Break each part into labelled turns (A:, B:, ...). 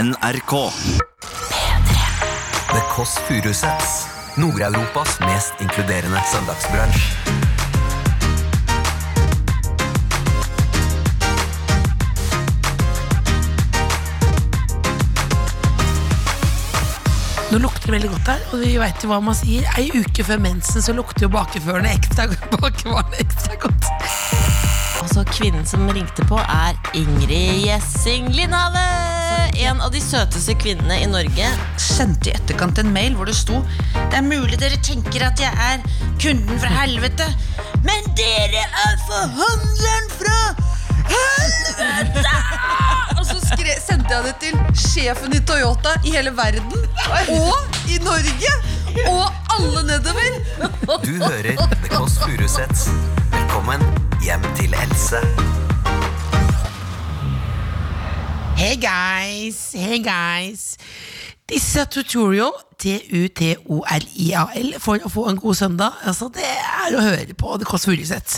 A: NRK.
B: The Kåss Furuseths. Nord-Europas mest inkluderende søndagsbransj.
C: Nå lukter det veldig godt her, og vi vet jo hva man sier. Ei uke før mensen så lukter jo bakeførene ekstra, bakevarene ekstra godt.
D: Altså, kvinnen som ringte på er Ingrid Gjessing Lindhave! En av de søteste kvinnene i Norge.
E: sendte i etterkant en mail hvor det sto Det er mulig dere tenker at jeg er kunden fra helvete, men dere er forhandleren fra
F: Og så skre, sendte jeg det til sjefen i Toyota i hele verden. Og i Norge. Og alle nedover.
B: Du hører The Kåss Furuseths. Velkommen hjem til Else.
C: Hey guys, hey guys. Disse tutorial, T-U-T-O-R-I-A-L, for å få en god søndag. Altså, det er å høre på The Kåss Furuseth.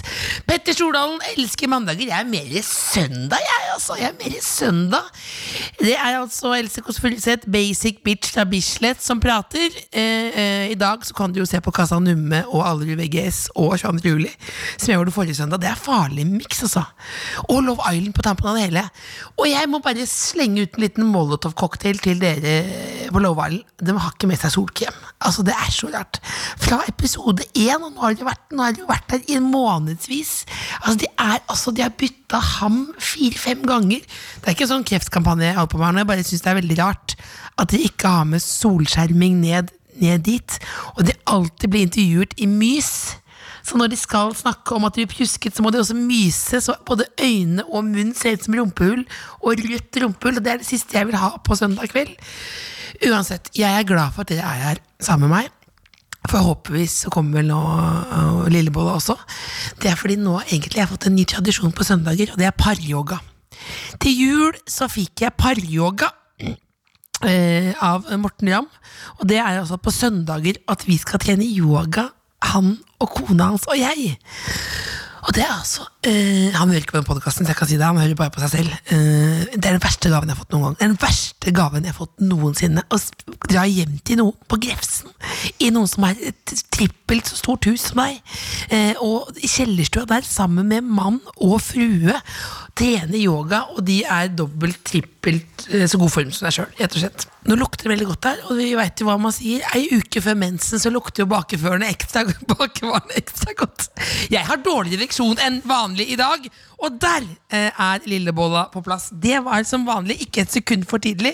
C: Petter Stordalen elsker mandager. Jeg er mer i søndag, jeg, altså. Jeg er mer i søndag. Det er altså Else Kåss Furuseth, basic bitch fra Bislett, som prater. Eh, eh, I dag så kan du jo se på Kassa Numme og Allerud VGS og 22. juli, som jeg gjorde forrige søndag. Det er farlig miks, altså. Og Love Island på tampen av det hele. Og jeg må bare slenge ut en liten molotov-cocktail til dere på Love Island. De har ikke med seg solkrem. Altså, det er så rart. Fra episode én, og nå har de vært, nå har de jo vært der i månedsvis. Altså, de er altså, de har bytta ham fire-fem ganger. Det er ikke sånn kreftkampanje jeg holder på med her nå, jeg bare syns det er veldig rart at de ikke har med solskjerming ned, ned dit. Og de alltid blir intervjuet i mys. Så når de skal snakke om at de blir pjusket, så må de også myse. Så både øyne og munn ser ut som rumpehull, og rødt rumpehull. Og det er det siste jeg vil ha på søndag kveld. Uansett, jeg er glad for at dere er her sammen med meg. Forhåpentligvis så kommer vel nå øh, lillebolla også. Det er fordi nå egentlig har jeg fått en ny tradisjon på søndager, og det er paryoga. Til jul så fikk jeg paryoga eh, av Morten Ramm. Og det er altså på søndager at vi skal trene yoga, han og kona hans og jeg. Og det er altså eh, Han hører ikke på den podkasten, så jeg kan si det. Han hører bare på seg selv. Eh, det er den verste gaven jeg har fått noen gang. Det er Den verste gaven jeg har fått noensinne. Å s- dra hjem til noen på Grefsen i noen som er et trippelt så stort hus som meg, eh, og i kjellerstua der sammen med mann og frue, trener yoga, og de er dobbelt, trippelt eh, så god form som deg sjøl, rett og slett. Nå lukter det veldig godt her, og vi veit jo hva man sier. Ei uke før mensen så lukter jo bakeførene ekstra, bakevarene ekstra godt. Jeg har dårligere ereksjon enn vanlig i dag, og der eh, er lillebolla på plass. Det var som vanlig ikke et sekund for tidlig.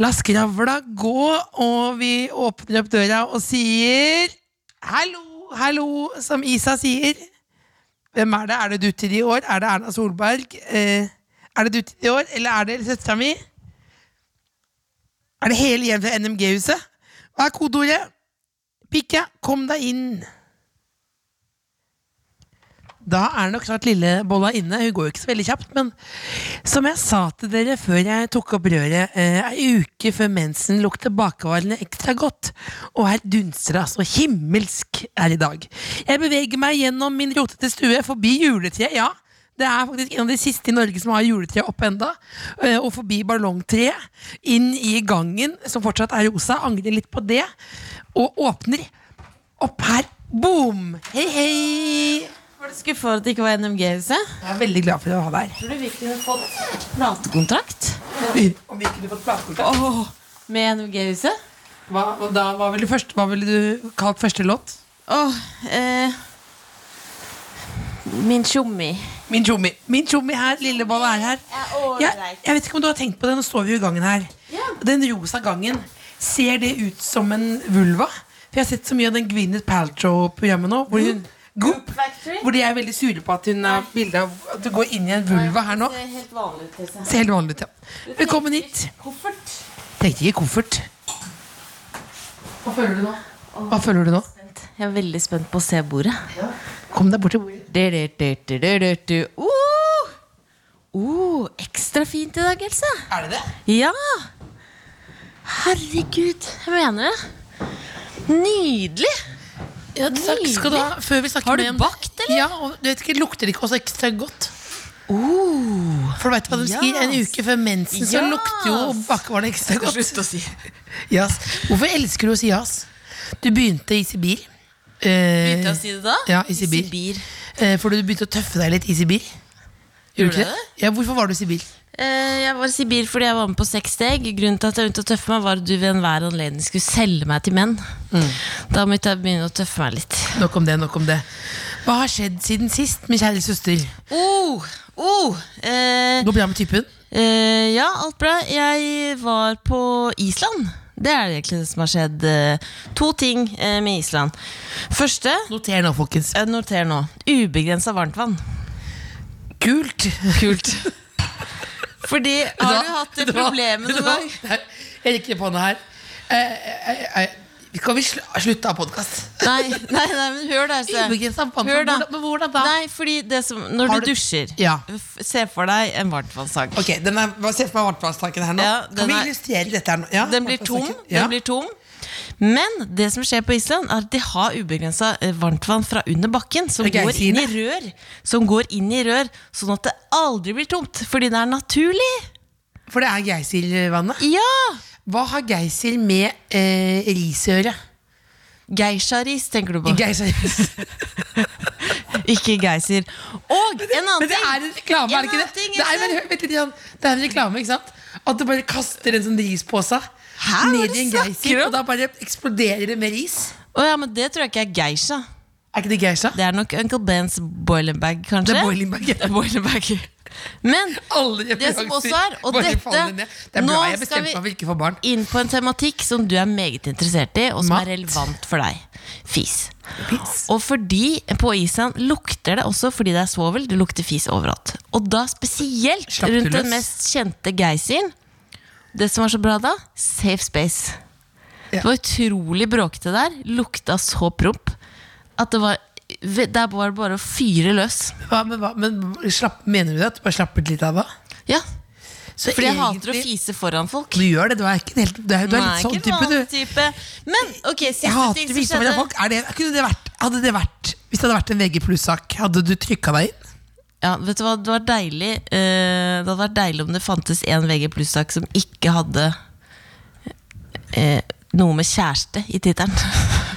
C: La skravla gå, og vi åpner opp døra og sier Hallo, hallo, som Isa sier. Hvem er det? Er det du til i år? Er det Erna Solberg? Eh, er det du til i år, eller er det søstera mi? Er det hele hjem fra NMG-huset? Hva er kodeordet? Pikke, kom deg inn. Da er nok klart lille bolla inne. Hun går jo ikke så veldig kjapt, men som jeg sa til dere før jeg tok opp røret, eh, ei uke før mensen lukter bakevarene ekstra godt, og her dunster det altså himmelsk her i dag. Jeg beveger meg gjennom min rotete stue, forbi juletreet, ja. Det er faktisk en av de siste i Norge som har juletre oppe enda eh, Og forbi ballongtreet. Inn i gangen, som fortsatt er rosa. Angrer litt på det. Og åpner opp her. Boom! Hei, hei!
D: Var du skuffa over at det ikke var NMG-huset?
C: Jeg er veldig glad for å ha deg her.
D: Tror du vi kunne fått platekontrakt
C: Om vi kunne fått platekontrakt
D: Åh, med NMG-huset?
C: hva, og da, hva, ville først, hva ville du kalt første låt?
D: Åh, eh, Min tjommi.
C: Min tjommi. Min tjommi her, lillebolla er her.
D: Ja, ålreit.
C: Jeg, jeg vet ikke om du har tenkt på det, nå står vi jo i gangen her. Den rosa gangen, ser det ut som en vulva? For jeg har sett så mye av den Gwyneth Paltrow-programmet nå. Hvor hun Goop,
D: Factory?
C: hvor de er veldig sure på at hun har bilde av at du går inn i en vulva her nå.
D: Det er helt vanlig ut. Tessa.
C: Ser helt vanlig ut, ja. Velkommen hit.
D: Koffert.
C: Trengte ikke koffert. Hva føler du nå? Hva føler du nå?
D: Jeg er veldig spent på å se bordet.
C: Kom deg bort til bordet.
D: Du, du, du, du, du, du, du. Oh! Oh, ekstra fint i dag, Else.
C: Er det det?
D: Ja! Herregud, jeg mener det. Nydelig!
C: Ja, takk skal du ha. Før vi snakker
D: Har du
C: mer om
D: bakt, eller?
C: Ja, og du vet ikke, Lukter det ikke også ekstra godt? For du vet hva de
D: Oh, Ja.
C: sier? En uke før mensen så
D: Ja.
C: lukter jo bakervarene ekstra godt.
D: Slutt å si.
C: Jas. Hvorfor elsker du å si jas? Du begynte i Sibir. Eh,
D: Begynte jeg å si det da?
C: Ja, i Sibir. eh, for du begynte å tøffe deg litt i Sibir. Gjorde du
D: Gjorde
C: ikke det? Ja, hvorfor var du i Sibir?
D: Eh, jeg var i Sibir fordi jeg var med på seks steg. Grunnen til at jeg begynte å tøffe meg, var at du ved enhver anledning skulle selge meg til menn. Da måtte jeg begynne å tøffe meg litt.
C: Nok om det, nok om det. Hva har skjedd siden sist, min kjære søster?
D: Oh, oh, eh,
C: Går bra med typen?
D: eh, ja, alt bra. Jeg var på Island. Det er egentlig det som har skjedd. eh, To ting eh, med Island. Første
C: Noter nå, folkens.
D: jeg Noter nå. Ubegrensa varmtvann.
C: Kult!
D: Kult. Fordi Har
C: Da-
D: du hatt det
C: da-
D: problemet noen
C: da-
D: gang?
C: Nei, Jeg rekker opp hånda her. Eh, eh, eh, eh, kan vi sl slutte av podkast?
D: Nei, nei, nei, men hør da. Else.
C: Ubegrenset varmtvann.
D: Hør da.
C: Hvordan- men hvordan da?
D: Nei, fordi det som, når
C: Har
D: du,
C: du-
D: dusjer,
C: Ja.
D: f- se for deg en varmtvannstank.
C: Ok, den er, hva- Se for meg varmtvannstanken her nå.
D: Ja, den
C: kan vi
D: er-
C: illustrere dette her nå? Ja,
D: Den blir tom.
C: varmtvannstanken. Ja.
D: Den blir tom. Men det som skjer på Island, er at de har ubegrensa varmtvann fra under bakken som
C: Det er
D: går inn i
C: geysirene.
D: rør. Som går inn i rør, sånn at det aldri blir tomt. Fordi det er naturlig.
C: For det er Geysir-vannet.
D: Ja!
C: Hva har Geysir med eh, ris å gjøre?
D: Geisha-ris, tenker du på.
C: Geysir.
D: Ikke geysir. Og en annen
C: Men det er en reklame, er det
D: annen
C: ikke det?
D: ting,
C: det, er,
D: Else.
C: men, hør, vent litt, Jan. det er en reklame, ikke sant? At du bare kaster en sånn rispose
D: Hæ? Hva
C: ned
D: er
C: i
D: det
C: en
D: du snakker
C: Geysir,
D: om?
C: og da bare eksploderer det med ris.
D: Å ja, men det tror jeg ikke er geisha.
C: Er ikke det Geisha?
D: Det er nok Uncle Bens boiling bag, kanskje.
C: Det er boiling bag.
D: Det er boiling bag. Men
C: Alle
D: det som også er, og
C: bare
D: dette-
C: faller ned. Det er
D: nå
C: bra jeg
D: skal
C: bestemte
D: vi-
C: meg for ikke å få barn.
D: inn på en tematikk som du er meget interessert i, og som
C: Mat.
D: er relevant for deg. Fis. Og fordi på Island lukter det også, fordi det er svovel, det lukter fis overalt. Og da spesielt
C: Slapp du
D: rundt
C: løs?
D: den mest kjente geysiren. Det som var så bra da, safe space. Det var utrolig bråkete der. Lukta så promp at det var Der var det bare å fyre løs.
C: Hva, men hva, men slapp, mener du det? At du bare slappet litt av da?
D: Ja,
C: Så
D: fordi jeg hater å
C: egentlig-
D: fise foran folk.
C: Du gjør det, du er ikke en helt Du er, du er
D: Nei,
C: litt
D: ikke
C: sånn
D: en
C: type,
D: vanlig
C: du.
D: type. Men ok, siste
C: Jeg
D: ting
C: hater
D: som
C: å vise
D: skjedde-
C: meg folk. Er det, kunne det vært, hadde det vært Hvis det hadde vært en VG pluss-sak, hadde du trykka deg inn?
D: Ja, vet du hva, det, var deilig, eh, det hadde vært deilig om det fantes en VG pluss-sak som ikke hadde eh, noe med kjæreste i tittelen.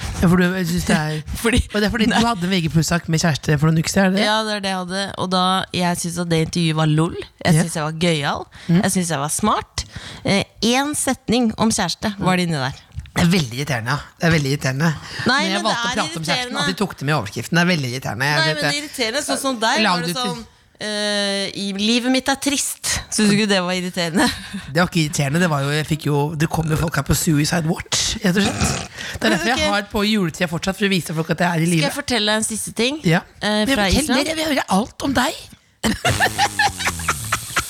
C: Ja, for du synes det er
D: Fordi,
C: Og det er fordi du hadde en VG sak med kjæreste for noen uker siden? er det det?
D: ja, det er det jeg hadde. Og da, jeg syntes at det intervjuet var lol. Jeg
C: Ja. Mm.
D: syntes jeg var gøyal. Jeg syntes jeg var smart. Eh, Én setning om kjæreste var det inni der.
C: Det er veldig irriterende. ja. Det er veldig irriterende
D: Nei,
C: Når
D: men
C: jeg
D: det
C: valgte å
D: er
C: prate om kjæresten,
D: irriterende.
C: at de tok det med i overskriften. Det er veldig irriterende. Jeg
D: Nei,
C: vet
D: men det
C: det.
D: irriterende, sånn som deg,
C: Lag
D: var det
C: du til-
D: sånn eh, i Livet mitt er trist. Syns du ikke det var irriterende?
C: Det var ikke irriterende. Det, var jo, jeg fikk jo, det kom jo folk her på Suicide Watch, rett og slett. Det er derfor
D: ok.
C: jeg har på juletida fortsatt, for å vise folk at jeg er i
D: Skal
C: live.
D: jeg fortelle deg en siste ting?
C: Ja.
D: eh,
C: Men
D: fra
C: fortell
D: Island?
C: dere, jeg vil høre alt om deg.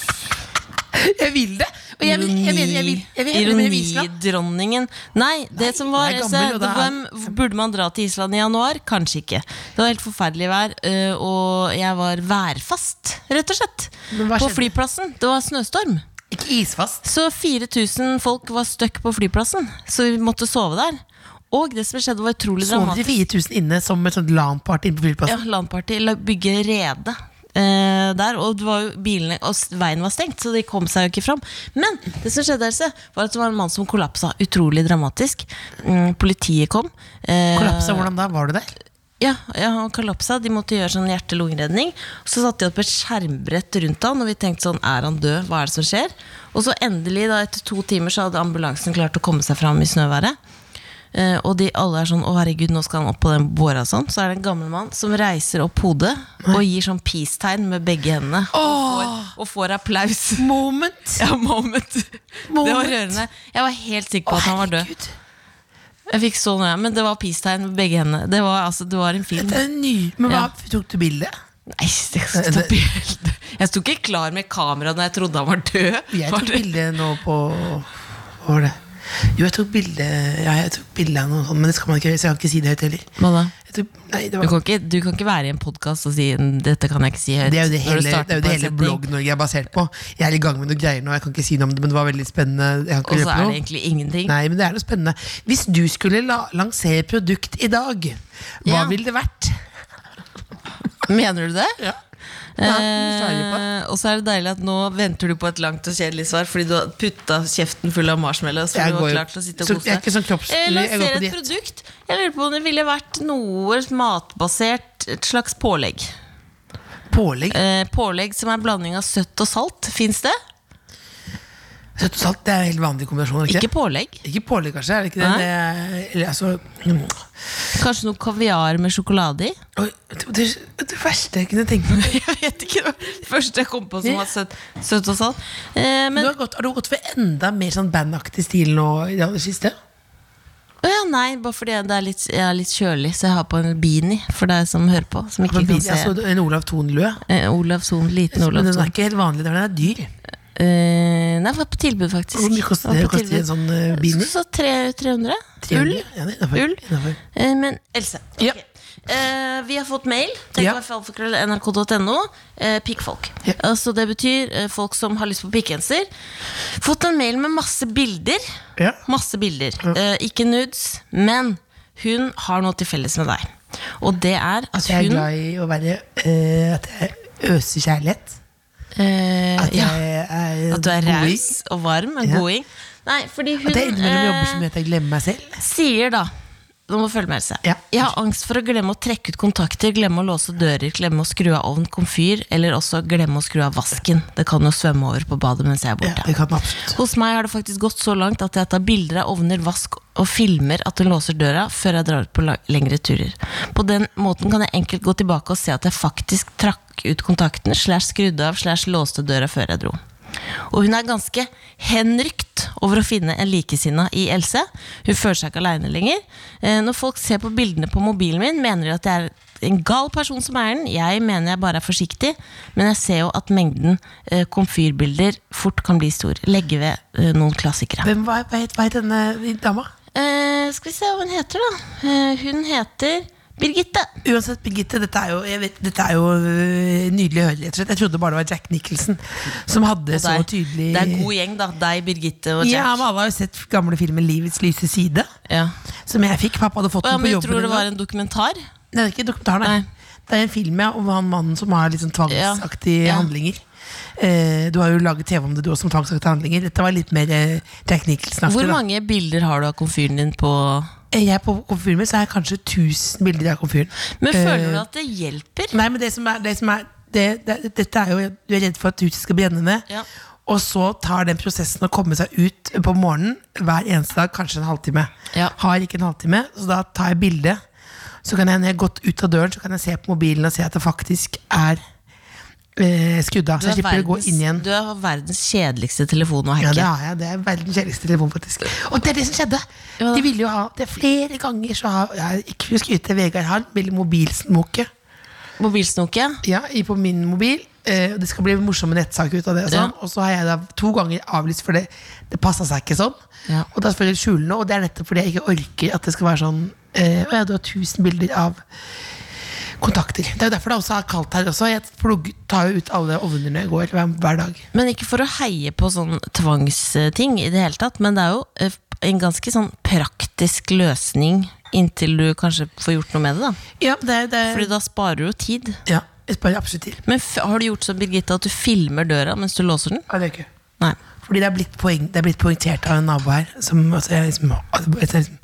C: jeg vil det. Og jeg, vil- jeg mener, jeg vil, jeg vil høre mer om Island.
D: Ironidronningen. Nei, det som var
C: jeg er
D: Else,
C: gammel, og
D: det
C: det er-
D: var- Burde man dra til Island i januar? Kanskje ikke. Det var helt forferdelig vær, øh, og jeg var værfast, rett og slett.
C: Men hva
D: På
C: skjedde?
D: flyplassen. Det var snøstorm.
C: Ikke isfast.
D: Så 4000 folk var stuck på flyplassen, så vi måtte sove der. Og det som skjedde, var utrolig
C: Sover
D: dramatisk.
C: dere 4000 inne som et sånt LAN-party inne på
D: Ja,
C: flyplassen?
D: landparty, la- bygge rede eh, der, og, det var jo bilene, og s- veien var stengt, så de kom seg jo ikke fram. Men det som skjedde, Else, var at det var en mann som kollapsa. Utrolig dramatisk. Mm, politiet kom. eh,
C: Kollapsa, hvordan da? Var du der?
D: Ja, ja, han kollapsa. De måtte gjøre sånn hjerte-lungeredning. Så satte de opp et skjermbrett rundt han, og vi tenkte sånn, er han død? Hva er det som skjer? Og så endelig, da, etter to timer, så hadde ambulansen klart å komme seg fram i snøværet. Eh, og de alle er sånn 'Å, herregud, nå skal han opp på den båra', og sånn. Så er det en gammel mann som reiser opp hodet og gir sånn peace-tegn med begge hendene. Og får, og får applaus.
C: Moment!
D: Ja, moment. Det var
C: Moment.
D: rørende. Jeg var helt sikker på at han var død.
C: Herregud,
D: Jeg fikk så nøye, Men det var peace-tegn med begge hendene. Det var, altså, det var en film.
C: det er en ny. Men hva,
D: Ja.
C: tok du bilde?
D: Nei, det
C: Eh,
D: jeg sto bilde. Jeg sto ikke klar med kamera når jeg trodde han var død.
C: Jeg
D: Var
C: tok
D: det-
C: bilde nå på Hva var det? Jo, jeg tok bilde ja, jeg tok bilde av noe sånt, men det skal man ikke gjøre, så jeg kan ikke si det høyt heller.
D: Hva da?
C: Jeg tok, nei, det,
D: Du
C: var,
D: kan, ikke, du kan ikke være i en podkast og si Dette kan jeg ikke si høyt.
C: det er jo det
D: når du
C: hele,
D: starter
C: det er jo
D: på en
C: det hele
D: setning.
C: Blogg-Norge er basert på. Jeg er i gang med noen greier nå, jeg kan ikke si noe om det, men det var veldig spennende. Jeg
D: Og
C: kan
D: så
C: ikke
D: er det
C: røpe noe.
D: egentlig ingenting.
C: Nei, men det er noe spennende. Hvis du skulle la, lansere produkt i dag, hva
D: Ja.
C: ville det vært?
D: Mener du det?
F: nysgjerrig på.
D: Eh, og så er det deilig at nå venter du på et langt og kjedelig svar fordi du har putta kjeften full av marshmallows. fordi
C: Jeg
D: du var
C: går jo-
D: klar til å sitte og
C: så
D: kose
C: jeg er
D: deg.
C: ikke sånn kroppslig,
D: Eh,
C: jeg går
D: lanserer
C: på
D: et
C: diett.
D: produkt. Jeg lurer på om det ville vært noe matbasert, et slags pålegg.
C: Pålegg.
D: Eh, pålegg som er blanding av søtt og salt. Fins det?
C: Søtt og salt det er en helt vanlig kombinasjon. er det
D: Ikke
C: Ikke,
D: pålegg.
C: ikke pålegg, kanskje? Er det ikke det?
D: Nei.
C: det er- eller, altså, mm.
D: Kanskje noe kaviar med sjokolade i?
C: Oi, det, det, det verste jeg kunne tenke meg
D: Jeg vet ikke. det var Det første jeg kom på som var søtt, søtt og salt. Eh,
C: du
D: men
C: har, gått, har du gått for enda mer sånn bandaktig stil nå i det aller siste?
D: Å ja, nei, bare fordi jeg, det er litt, jeg er litt kjølig, så jeg har på en beanie for deg som hører på. Som ikke kan
C: Jeg
D: se.
C: så en Olav Thon-lue,
D: Eh, Olav Son, liten
C: men
D: Olav
C: den er
D: Son.
C: ikke helt vanlig. Den er dyr.
D: Eh, nei, det var på tilbud, faktisk.
C: Hvor mye koster det?
D: Var på
C: Koster det
D: tilbud.
C: en sånn eh, beanie?
D: Så, så tre- 300? Ull?
C: 300? Ja, det er innenfor.
D: Ull?
C: Innenfor.
D: Eh, men Else,
C: Ja.
D: ok. Eh, vi har fått mail.
C: Ja.
D: Nrk.no. Eh, pikkfolk.
C: Ja.
D: Altså, det betyr eh, folk som har lyst på pikkgenser. Fått en mail med masse bilder.
C: Ja.
D: Masse bilder. Eh, ikke nudes, men hun har noe til felles med deg. Og det er at
C: Jeg er
D: Altså, hun
C: glad i å være eh, At jeg øser kjærlighet.
D: eh,
C: At
D: ja,
C: jeg er
D: At du er
C: god i-
D: raus og varm. En
C: Ja.
D: goding. Nei, fordi hun
C: At jeg innimellom jobber
D: eh,
C: så mye at jeg glemmer meg selv.
D: sier da nå må du følge med Else.
C: Ja.
D: Jeg har angst for å glemme å trekke ut kontakter, glemme å låse dører, glemme å skru av ovn, komfyr, eller også glemme å skru av vasken. Det kan jo svømme over på badet mens jeg er
C: Ja,
D: borte.
C: det kan man absolutt.
D: Hos meg har det faktisk gått så langt at jeg tar bilder av ovner, vask og filmer at hun låser døra før jeg drar ut på la- lengre turer. På den måten kan jeg enkelt gå tilbake og se at jeg faktisk trakk ut kontakten, slash skrudde av, slash låste døra før jeg dro. Og hun er ganske henrykt over å finne en likesinna i Else. Hun føler seg ikke aleine lenger. Eh, Når folk ser på bildene på mobilen min, mener de at jeg er en gal person som er den. Jeg mener jeg bare er forsiktig, men jeg ser jo at mengden eh, komfyrbilder fort kan bli stor. Legge ved eh, noen klassikere.
C: Hvem var, hva, het, hva het denne dama?
D: Eh, skal vi se hva hun heter, da. Eh, hun heter Birgitte.
C: Uansett, Birgitte, dette er jo, jeg vet, dette er jo øh, nydelig å høre. rett og slett. Jeg trodde bare det var Jack Nicholson som hadde så
D: Og deg.
C: tydelig
D: Det er en god gjeng, da. Deg, Birgitte og
C: Ja,
D: Jack.
C: men Alle har jo sett gamle filmen 'Livets lyse side',
D: Ja.
C: som jeg fikk. Pappa hadde fått
D: Å, ja,
C: den på
D: men du
C: jobben.
D: tror det
C: en
D: var
C: gang.
D: en dokumentar?
C: Nei, det er ikke dokumentar, nei.
D: Nei.
C: Det er en film ja, om han mannen som har litt sånn tvangsaktige
D: Ja. Ja.
C: handlinger. Eh, du har jo laget TV om det, du også, om tvangsaktige handlinger. Dette var litt mer eh, Jack Nicholson-aktig.
D: Hvor
C: da.
D: mange bilder har du av komfyren din på
C: Eh, Jeg er på komfyren min, så er jeg kanskje 1000 bilder av komfyren.
D: Men føler du
C: Eh,
D: at det hjelper?
C: Nei, men det som er, det som er det, det, Dette er jo Du er redd for at huset skal brenne ned.
D: Ja.
C: Og så tar den prosessen å komme seg ut på morgenen hver eneste dag kanskje en halvtime.
D: Ja.
C: Har ikke en halvtime, så da tar jeg bilde. Så kan jeg, når jeg har gått ut av døren, så kan jeg se på mobilen og se at det faktisk er eh, skrudd av.
D: Du
C: Så
D: er
C: jeg slipper å gå
D: verdens-
C: inn igjen.
D: Du har verdens kjedeligste telefon å
C: Ja,
D: hacke.
C: det har jeg. Det er verdens kjedeligste telefon, faktisk. Og det er det som skjedde!
D: Ja.
C: De ville jo ha det flere ganger, så har jeg ikke for å skryte Vegard Harm, ville mobilsmoke.
D: Mobilsnoke.
C: ja, i- på min mobil. eh, og det skal bli morsomme nettsaker ut av det. Og, sånn.
D: Ja.
C: og så har jeg da to ganger avlyst, for det, det passa seg ikke sånn.
D: Ja.
C: Og da skal jeg skjule noe, og det er nettopp fordi jeg ikke orker at det skal være sånn eh, «Å ja, du har 1000 bilder av kontakter. Det er jo derfor det også er kaldt her også. Jeg plugg, tar jo ut alle ovnene i går hver, hver dag.
D: Men ikke for å heie på sånn tvangsting i det hele tatt, men det er jo eh, en ganske sånn praktisk løsning inntil du kanskje får gjort noe med det, da.
C: Ja, det, det,
D: Fordi da sparer du jo tid.
C: ja jeg sparer absolutt til.
D: Men f har du gjort som Birgitte, at du filmer døra mens du låser den?
C: Ja, det er ikke.
D: Nei.
C: Fordi det er blitt, poeng, det er blitt poengtert av en nabo her. Som, altså, jeg, liksom, altså, jeg, liksom,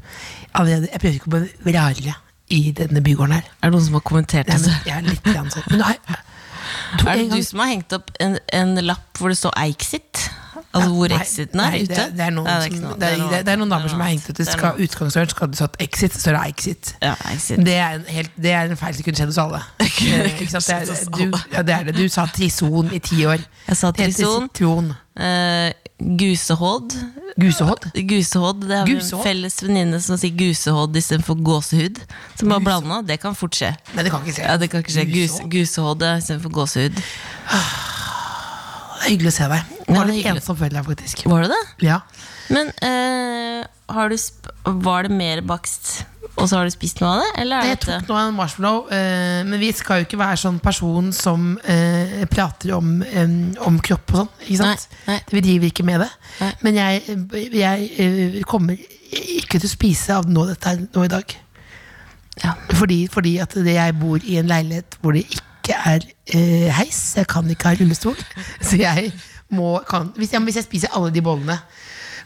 C: allerede, jeg prøver ikke å bli rarere i denne bygården her.
D: Er det noen som har kommentert
C: Nei,
D: det?
C: men jeg er litt grann sånn. Men nei, to,
D: Altså. Er
C: en
D: det
C: gang-
D: du som har hengt opp en, en lapp hvor det står Exit? Altså hvor
C: Nei,
D: Exiten er
C: nei,
D: ute?
C: Det, er- det er noen,
D: Nei,
C: som-
D: ikke noe.
C: det, er, det, er, det er noen damer
D: Det er
C: som har hengt ut i
D: Det er
C: ska-
D: noe.
C: utgangsdøren, skal det stått Exit, så er det Exit.
D: Ja, Exit.
C: Det er en, helt, det er en feil som kunne skjedd hos alle. Eh, Ikke sant? Det er, du, ja, det er det. Du sa trison i ti år.
D: Jeg sa
C: Det heter
D: trison.
C: Sitron.
D: Eh, gusehåd.
C: Gusehånd.
D: Gusehåd, Det har vi en
C: Gusehåd?
D: felles venninne som sier gusehådd istedenfor gåsehud. Som bare blanda. Det kan fort skje.
C: Nei, det kan ikke se.
D: Ja, det kan ikke skje. Gus,
C: Gusehånd.
D: gusehåde istedenfor gåsehud.
C: Det er hyggelig å se deg. Jeg
D: Ja,
C: var
D: det er
C: litt
D: hyggelig.
C: ensom før deg, faktisk.
D: Var det det?
C: Ja.
D: Men eh, har du sp var det mer bakst, og så har du spist noe av det? Eller er
C: Jeg
D: dette
C: tok nå en marshmallow, eh, men vi skal jo ikke være sånn person som eh, prater om, eh, om kropp og sånn. Ikke sant?
D: Nei, nei.
C: Vi driver ikke med det.
D: Nei.
C: Men jeg, jeg eh, kommer ikke til å spise av nå dette her nå i dag.
D: Ja.
C: Fordi, fordi at det- jeg bor i en leilighet hvor det ikke ikke er eh, heis, jeg kan ikke ha rullestol. Så jeg må kan, hvis, jeg, hvis jeg spiser alle de bollene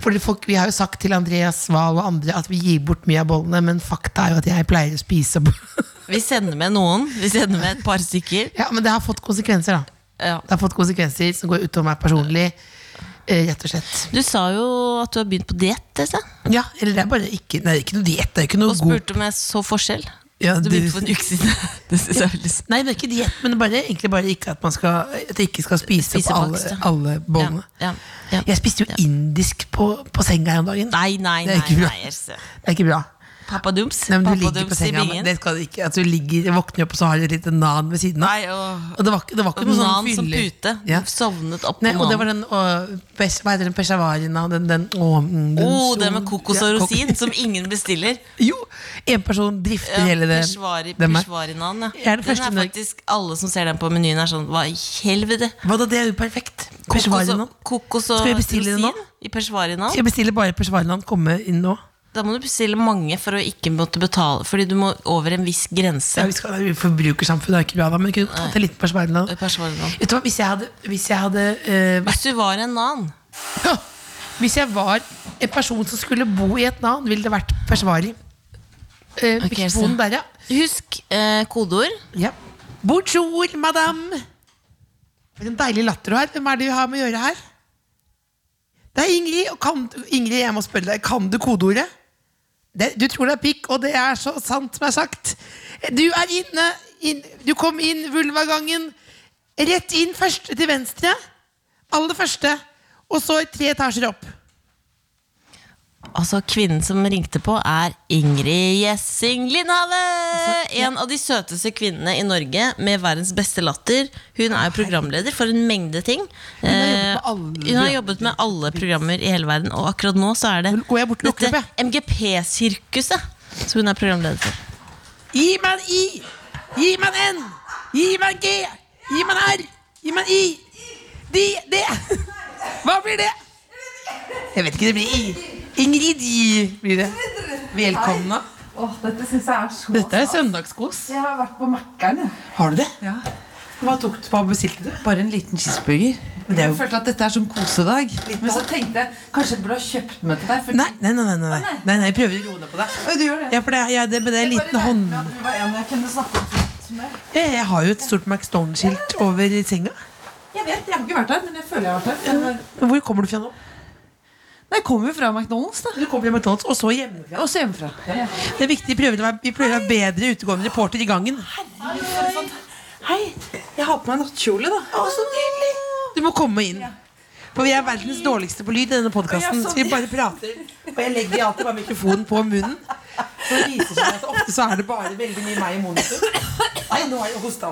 C: Fordi folk, Vi har jo sagt til Andreas Wahl og andre at vi gir bort mye av bollene, men fakta er jo at jeg pleier å spise opp
D: Vi sender med noen. Vi sender med et par stykker.
C: Ja, Men det har fått konsekvenser, da.
D: Ja.
C: Det har fått konsekvenser som går utover meg personlig. eh, rett og slett.
D: Du sa jo at du har begynt på diett.
C: Ja, eller det er bare ikke, nei, det er ikke noe diett. Det er ikke
D: Og
C: noe god
D: spurte om jeg så forskjell.
C: Ja,
D: du
C: det-
D: begynte for en uke siden. Det synes jeg er veldig
C: Nei, det er ikke diett, men det er bare, egentlig bare ikke at man skal, at jeg ikke skal spise,
D: Spise
C: opp
D: bakst,
C: alle,
D: ja.
C: alle bollene.
D: Ja, ja, ja.
C: Jeg spiste jo indisk på, på senga her om dagen.
D: Nei, nei,
C: Det
D: nei.
C: er ikke bra.
D: nei Else.
C: Det er ikke bra.
D: Pappa Dums.
C: Nei, men du
D: Pappa
C: ligger på
D: Dums i
C: senga, men
D: bingen.
C: det skal du ikke. At du ligger, våkner opp, og så har du et lite nan ved siden av.
D: Nei, og,
C: Og det var, ikke- det var ikke
D: og
C: noe sånn
D: nan som
C: fyller-
D: pute.
C: Ja.
D: Sovnet opp
C: Nei,
D: på
C: og det var
D: mannen.
C: den og, pes- Hva heter den peshawarina? Den, den, å, mm, den
D: Å, Oh, det
C: store-
D: med kokos
C: ja,
D: og
C: kok-
D: rosin, som ingen bestiller.
C: Jo! En person drifter hele det.
D: Peshwari,
C: den der.
D: Peshwarinan, ja.
C: Jeg er den
D: Den er
C: første i Norge.
D: faktisk, alle som ser den på menyen, er sånn Hva i helvete?
C: Hva da, det er jo perfekt.
D: Kokos
C: Peshawarinan.
D: og, kokos og
C: Skal jeg bestille den nå?
D: rosin i peshwarinan?
C: Skal jeg bestille bare peshawarinan? Komme inn nå?
D: Da må du bestille mange for å ikke måtte betale. Fordi du må over en viss
C: Ja,
D: grense.
C: vi skal, vi forbrukersamfunnet er ikke bra da, men kunne tatt en liten persvarm nå.
D: Peshwarinan.
C: Vet du hva, hvis jeg hadde, hvis jeg hadde eh, vært
D: Hvis du var en nan
C: Hvis jeg var en person som skulle bo i et navn, ville det vært persvari. Uh,
D: Ok,
C: mikrofonen
D: så-
C: der, ja.
D: Husk eh, kodeord.
C: ja. Bonjour, madame. For en deilig latter du har. Hvem er det vi har med å gjøre her? Det er Ingrid. Og kan, Ingrid, jeg må spørre deg, kan du kodeordet? Det, du tror det er pikk, og det er så sant som er sagt. Du er inne. Inn, du kom inn vulvagangen. Rett inn først til venstre. Aller første. Og så tre etasjer opp.
D: Altså, kvinnen som ringte på, er Ingrid Gjessing Lindhave!
C: Altså,
D: En av de søteste kvinnene i Norge, med verdens beste latter. Hun er jo programleder for en mengde ting. Hun
C: har jobbet med alle-
D: hun har jobbet med alle programmer i hele verden, og akkurat nå så er det
C: Nå går jeg bort og lukker
D: dette
C: opp,
D: MGP-sirkuset som hun er programleder for.
C: Gi meg en I! Gi meg en N! Gi meg en G! Gi meg en R! Gi meg en I! De, det Hva blir det? Jeg vet ikke, det blir I. Ingrid I blir det. Velkomne.
A: Åh, dette syns jeg er så
C: Dette er søndagskos.
A: Jeg har vært på Mækkern, jeg.
C: Har du det?
A: Ja.
C: Hva, tok, du- hva bestilte du?
A: Bare en liten cheeseburger.
C: det er jo-
A: Jeg følte at dette er sånn kosedag. Men så tenkte jeg kanskje jeg burde ha kjøpt den med til deg. For
C: Nei, nei, nei, nei, nei. nei, nei jeg prøver å roe ned på deg.
A: Oi, du gjør det.
C: Ja, for det er, ja, det, men det er en liten
A: Bare
C: hånd...
A: regnet med at du var en jeg kunne snakke fritt med.
C: Jeg, jeg har jo et stort McStone-skilt over senga.
A: Jeg vet, jeg har ikke vært der, men jeg føler jeg har vært der. Jeg var-
C: Men Hvor kommer du fra nå?
A: Nei, jeg kommer jo fra McDonald's, da.
C: Du kommer fra McDonald's, og så hjemmefra.
A: Også hjemmefra.
C: Det er viktig, vi prøver å være, vi prøver å være bedre utegående reporter i gangen.
A: Hei, jeg har på meg nattkjole, da.
C: Å, så nydelig! Du må komme inn. For vi er verdens dårligste på lyd i denne podkasten. Så vi bare prater. Og jeg legger alltid bare mikrofonen på munnen. Så det viser seg at ofte så er det bare veldig mye meg i monitor. Nei, nå har jeg hosta.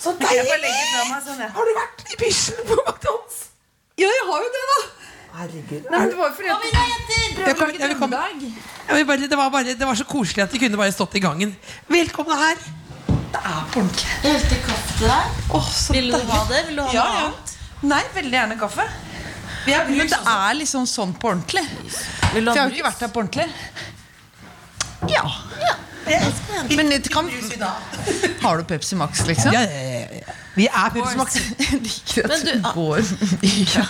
C: Så deilig! sånn, Har du vært i pysjen på McDonald's?
A: Ja, jeg har jo det, da.
C: Herregud.
A: Nei, men det var jo fordi at
C: Jeg kom- jeg kom- jeg vil bare, det, var bare, det var så koselig at de kunne bare stått i gangen. Velkomne her.
A: Det er på ordentlig.
D: Jeg helte kaffe til deg.
A: Åh, så
D: Vil du
A: deilig.
D: ha det? Vil du ha
A: Ja,
D: noe
A: ja.
D: annet?
A: Nei, veldig gjerne kaffe. Men det er liksom sånn på ordentlig.
D: Vil du
A: For jeg
D: ha
A: har jo ikke vært der på ordentlig. Ja. Men det kan, har du Pepsi Max, liksom?
C: Ja, ja, ja, ja. Vi er Pepsi Max.
A: Jeg liker at
D: Men du-
A: du går ja.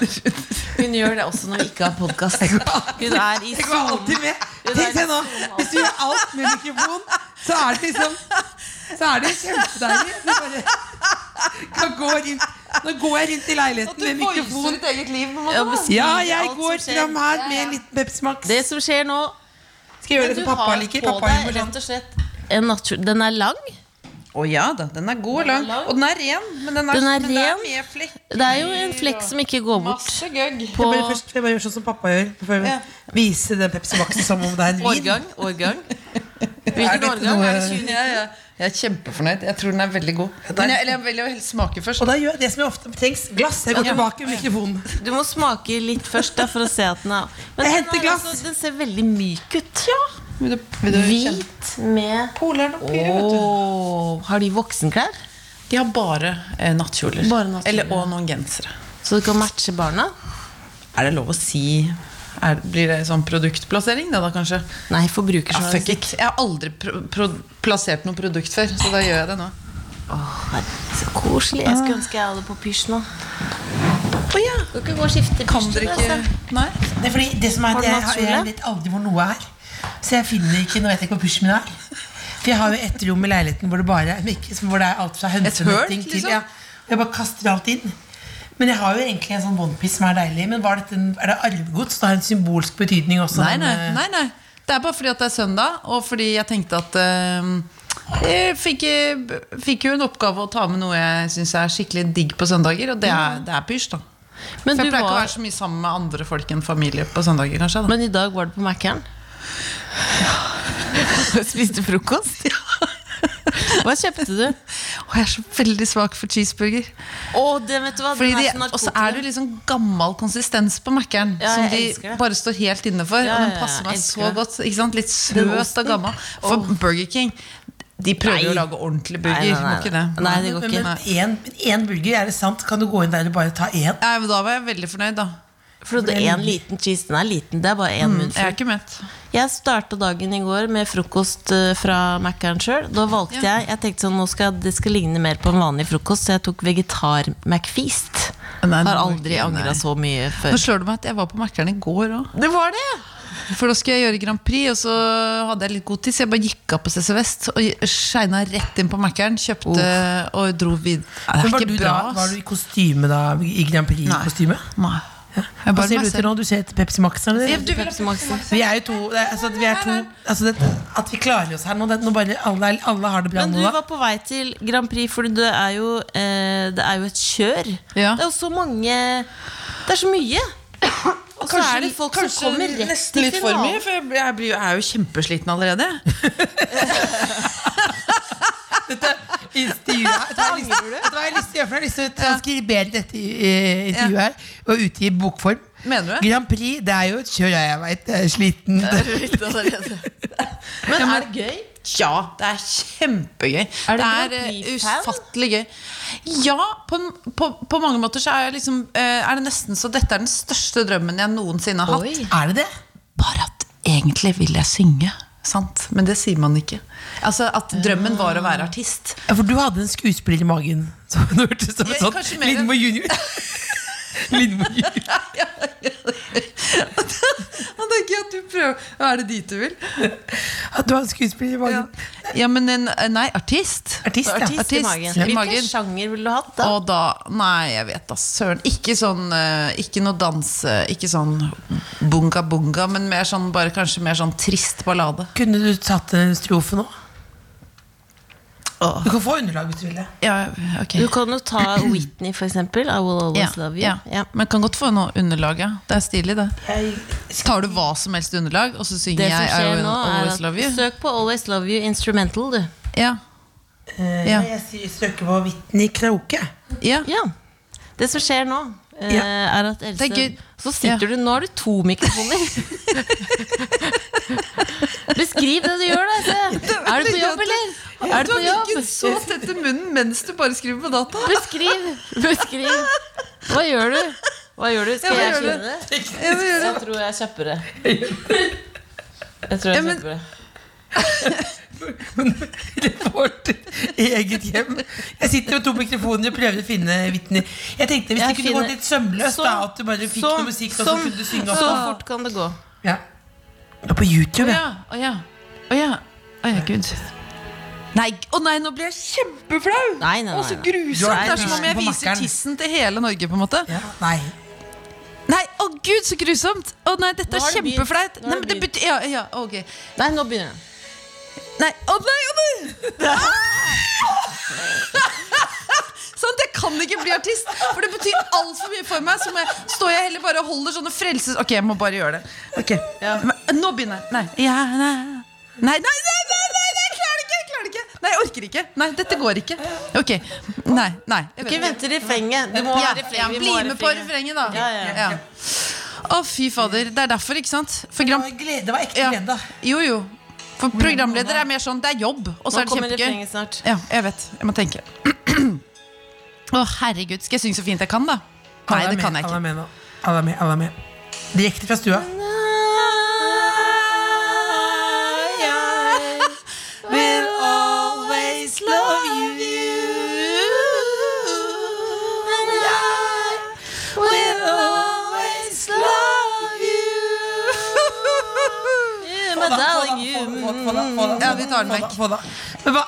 D: Hun gjør det også når vi ikke har podkast. Hun er i
C: Jeg går alltid
D: sonen.
C: med. Tenk deg nå, hvis du gjør alt med mikrofon, så er det liksom Så er det kjempedeilig. Du bare kan gå rundt. Nå går jeg rundt i leiligheten med mikrofon.
A: ditt eget liv.
D: Ja, beskriv
C: Ja,
D: alt
C: jeg
D: som
C: går
D: skjer.
C: fram her med en liten Pepsi Max.
D: Det som skjer nå
C: Skal jeg gjøre
D: Men
C: det
D: du
C: som pappa
D: har
C: liker.
D: på
C: Pappa
D: deg
C: gjør sånn.
D: rett og slett en natur... Den er lang.
A: Å ja da, den er god og lang.
D: Den er lang.
A: Og den er ren. Men den er,
D: Den er
A: men det
D: ren.
A: er mye flekk.
D: Det er jo en flekk som ikke går bort
A: Masse gøgg.
D: på
C: Jeg bare, først, jeg bare gjør sånn som pappa gjør. Før vi
A: Ja.
C: Vise den Pepsi Maxen som om det er en vin.
D: årgang. Årgang. Hvilken
C: dette
D: årgang?
C: noe-
D: Er det 20?
A: Ja, ja. Jeg er kjempefornøyd. Jeg tror den er veldig god. Men jeg, eller jeg vil jo helst smake først.
C: Og da gjør jeg det som jeg ofte trengs. Glass. Jeg går tilbake med mikrofonen.
D: Du må smake litt først da, for å se at den er Men
C: Jeg
D: den
C: henter
D: er
C: glass.
D: altså- Den ser veldig myk ut.
A: Vil du, vil du kjenne?
D: Hvit med
A: Poleren og Pyre, vet du.
D: Åh, Har de voksenklær?
A: De har bare eh, nattkjoler.
D: Bare nattkjoler.
A: Eller, og noen gensere.
D: Så du kan matche barna?
A: Er det lov å si er, Blir det sånn produktplassering, det da, kanskje?
D: Nei,
A: Ja, fuck
D: forbrukerjournalistikk.
A: it. Jeg har aldri pro pro plassert noe produkt før, så da gjør jeg det nå.
D: Så koselig. Jeg skulle ønske jeg hadde på pysj nå.
G: Kan ikke gå og skifte
F: Kan dere ikke Nei?
C: Det er fordi det som er
D: Har
C: at
D: du
C: jeg,
D: hatt
C: har- jeg
D: kjole?
C: vet aldri hvor noe er. Så jeg finner ikke, nå vet jeg ikke hvor pysjen min er. For jeg har jo et rom i leiligheten hvor det bare er mikke- som- hvor det er alt fra hønsenetting
F: liksom?
C: til ja, Jeg bare kaster alt inn. Men jeg har jo egentlig en sånn onepiece som er deilig. Men var dette en, er det arvegods? Det har en symbolsk betydning også.
F: Nei,
C: den,
F: nei,
C: eh,
F: nei, nei. Det er bare fordi at det er søndag, og fordi jeg tenkte at eh, jeg fikk, eh, fikk jo en oppgave å ta med noe jeg syns er skikkelig digg på søndager, og det er, det er pysj, da.
D: Men
F: For
D: du
F: jeg pleier ikke å
D: var-
F: være så mye sammen med andre folk enn familie på søndager, kanskje. Da.
D: Men i dag var det på Mækkern. Spiste frokost? Hva kjøpte du?
F: og jeg er så veldig svak for cheeseburger.
D: Å, det vet du hva,
F: Fordi
D: den
F: de,
D: er så
F: og så
D: narkotika.
F: er det jo liksom gammel konsistens på Mækkern.
D: Ja,
F: som
D: jeg
F: de
D: elsker det.
F: bare står helt inne for.
D: Ja,
F: og
D: ja,
F: den
D: ja,
F: passer meg
D: elsker
F: så
D: det.
F: godt. Ikke sant? Litt søt og gammel. For Burger King de prøver jo å
D: Nei.
F: lage ordentlig
D: Nei,
F: burger.
D: nei, nei,
F: Må ikke det.
D: nei. Nei, det går
C: Men
D: ikke.
C: én- men én burger, er det sant? Kan du gå inn der og bare ta én?
F: Nei, men Da var jeg veldig fornøyd, da.
D: For det er en liten cheese, den er liten, det er bare én
F: Jeg er
D: munnfull.
F: ikke mett.
D: Jeg starta dagen i går med frokost eh, fra Mækkern sjøl. Da valgte jeg Jeg tenkte sånn, nå skal det skal ligne mer på en vanlig frokost, så jeg tok vegetar-McFeast.
F: Nei,
D: Har
F: det
D: aldri
F: var ikke-
D: angra
F: nei.
D: så mye
F: Nå
D: før.
F: slår det meg at jeg var på Mækkern i går òg.
D: Det var det!
F: For da skulle jeg gjøre Grand Prix, og så hadde jeg litt god tid, så jeg bare gikk av på CC Vest og skeina rett inn på Mækkern, kjøpte og dro videre. Det
C: Men
F: er
C: var,
F: ikke
C: du
F: bra.
C: da, var
F: ass.
C: du i kostyme da? I Grand Prix-kostyme?
F: Nei. Jeg
C: Hva
F: bare
C: ser du etter nå? Du ser etter Pepsi Max? Eller?
D: Pepsi Max.
C: Vi er jo to, det, er- altså, at vi er to altså, det, At vi klarer oss her nå, det, nå bare, alle, er- alle har det bra
D: Men
C: nå.
D: du
C: da.
D: var på vei til Grand Prix, for det er jo, eh, det er jo et kjør.
F: Ja.
D: Det er jo så mange Det er så mye. Og så er det folk som kommer rett
F: nesten
D: til
F: litt for mye,
D: finalen.
F: for jeg, blir- jeg, blir, jo- jeg er jo kjempesliten allerede.
C: Intervjuet her. Vet du hva jeg har lyst- vet du hva jeg har lyst til å gjøre? for Jeg har lyst til å transkribere dette eh, intervjuet her og utgi i bokform.
F: Mener du det?
C: Grand Prix det er jo et kjør, ja, jeg veit. Jeg er sliten.
D: Men er det gøy?
F: Ja, det er kjempegøy.
D: Er du
F: det
D: Grand
F: er eh,
D: Prix-fan?
F: ufattelig gøy. Ja, på, en- på, på mange måter så er, jeg liksom, eh, er det nesten så dette er den største drømmen jeg noensinne har hatt.
D: Oi.
C: Er det det?
F: Bare at egentlig vil jeg synge. Sant? Men det sier man ikke. Altså At drømmen var å være artist.
C: Ja, For du hadde en skuespiller i magen. Som du hørtes som en
F: Ja,
C: sånn
F: kanskje mer-
C: Lindmo junior. Lindmo junior.
F: Da tenker jeg at du prøver Er det dit du vil?
C: At du har en skuespiller i magen.
F: Ja, men en, nei, artist.
C: Artist, ja.
D: Artist, i
F: Artist
D: magen.
F: i
D: Hvilken
F: magen.
D: sjanger ville du hatt da?
F: Og da Nei, jeg vet da søren. Ikke sånn eh, Ikke noe dans eh, Ikke sånn bunga-bunga, men mer sånn bare kanskje mer sånn trist ballade.
C: Kunne du tatt en strofe nå? Du kan få underlag hvis du vil det.
F: Ja, ok.
D: Du kan jo ta Whitney, for eksempel. I Will
F: Ja,
D: Always Love You.
F: ja.
D: Ja.
F: Men kan godt få noe underlag, ja. Det er stilig, det. Tar du hva som helst underlag, og så synger
D: Det som
F: jeg I
D: skjer
F: Will
D: nå, er
F: Always
D: at
F: Love You?
D: søk på Always Love You Instrumental, du.
F: Ja.
C: Eh,
F: Ja.
C: Jeg sier søker på Whitney Kroke.
F: ja.
D: Ja. Det som skjer nå, eh,
C: Ja.
D: er at Else
F: Det er gøy.
D: Så sitter du Nå har du to mikrofoner. Beskriv det du gjør, da. Else. Er du på jobb, eller? Er du på jobb?
F: så tett i munnen mens du bare skriver på data.
D: Beskriv. Beskriv. Hva gjør du? Hva gjør du?
F: Ja,
D: Skal
F: hva
D: jeg
F: gjør
D: skjønne det? Jeg tror jeg kjøper det. Jeg tror
F: Ja,
D: jeg
F: men-
D: kjøper det.
C: Vårt eget hjem. Jeg sitter med to mikrofoner og prøver å finne Whitney. Jeg tenkte Hvis
D: Jeg
C: det kunne
D: finner-
C: gått litt sømløst,
D: Så-
C: da, at du bare fikk
D: så-
C: noe musikk, og så
D: sånn-
C: kunne du synge
D: Så
C: også.
D: fort kan det gå.
C: Ja. Det er på YouTube,
F: Å
C: ja.
F: ja. Å ja. Å ja. Å ja, gud. Nei, å nei, nå blir jeg kjempeflau!
D: Nei, nei,
F: Å, så
D: nei, nei.
F: grusomt!
C: Nei,
F: Det er som om
C: nei.
F: jeg
C: På
F: viser
C: makkeren.
F: tissen til hele Norge, på en måte.
C: ja. Nei.
F: Nei, å gud, så grusomt! Å nei, dette
D: Nå har
F: er
D: det begynt.
F: kjempeflaut!
D: Nå har
F: Nei, men det
D: det
F: betyr Ja, ja, ok.
D: Nei, nå begynner den.
F: Nei, å nei, Ah! å nei! Sant, Sånn, jeg kan ikke bli artist, for det betyr altfor mye for meg. Så må jeg, står jeg heller bare og holder sånne frelses... Ok, jeg må bare gjøre det. Ok, Men Nå begynner jeg. Nei. Ja, nei. Nei, nei, nei, nei, nei, nei, jeg klarer det ikke! jeg klarer det ikke Nei, jeg orker ikke. Nei, dette går ikke. Ok, Nei. nei jeg vet
D: Ikke vent til refrenget. Du må
F: Ja,
D: ha refrenget.
F: ja,
D: vi må
F: bli
D: ha
F: med på refrenget, da.
D: Ja, ja, ja.
F: Å, fy fader. Det er derfor, ikke sant? For
C: Det
F: Grand
C: var, glede, det var ekte
F: ja.
C: glede.
F: Jo, jo. For programleder er mer sånn det er jobb, og så
D: Nå
F: er det
D: kommer
F: kjempegøy.
D: refrenget snart.
F: Ja, jeg vet. Jeg må tenke. Å, herregud. Skal jeg synge så fint jeg kan, da? Nei,
C: Alle er
F: det
C: med,
F: kan jeg ikke.
C: Alle er med nå. Alle er med. Alle er med. Direkte fra stua.
D: I will always love you. darling you.
A: Ja, vi tar den vekk.
C: Få da. Men hva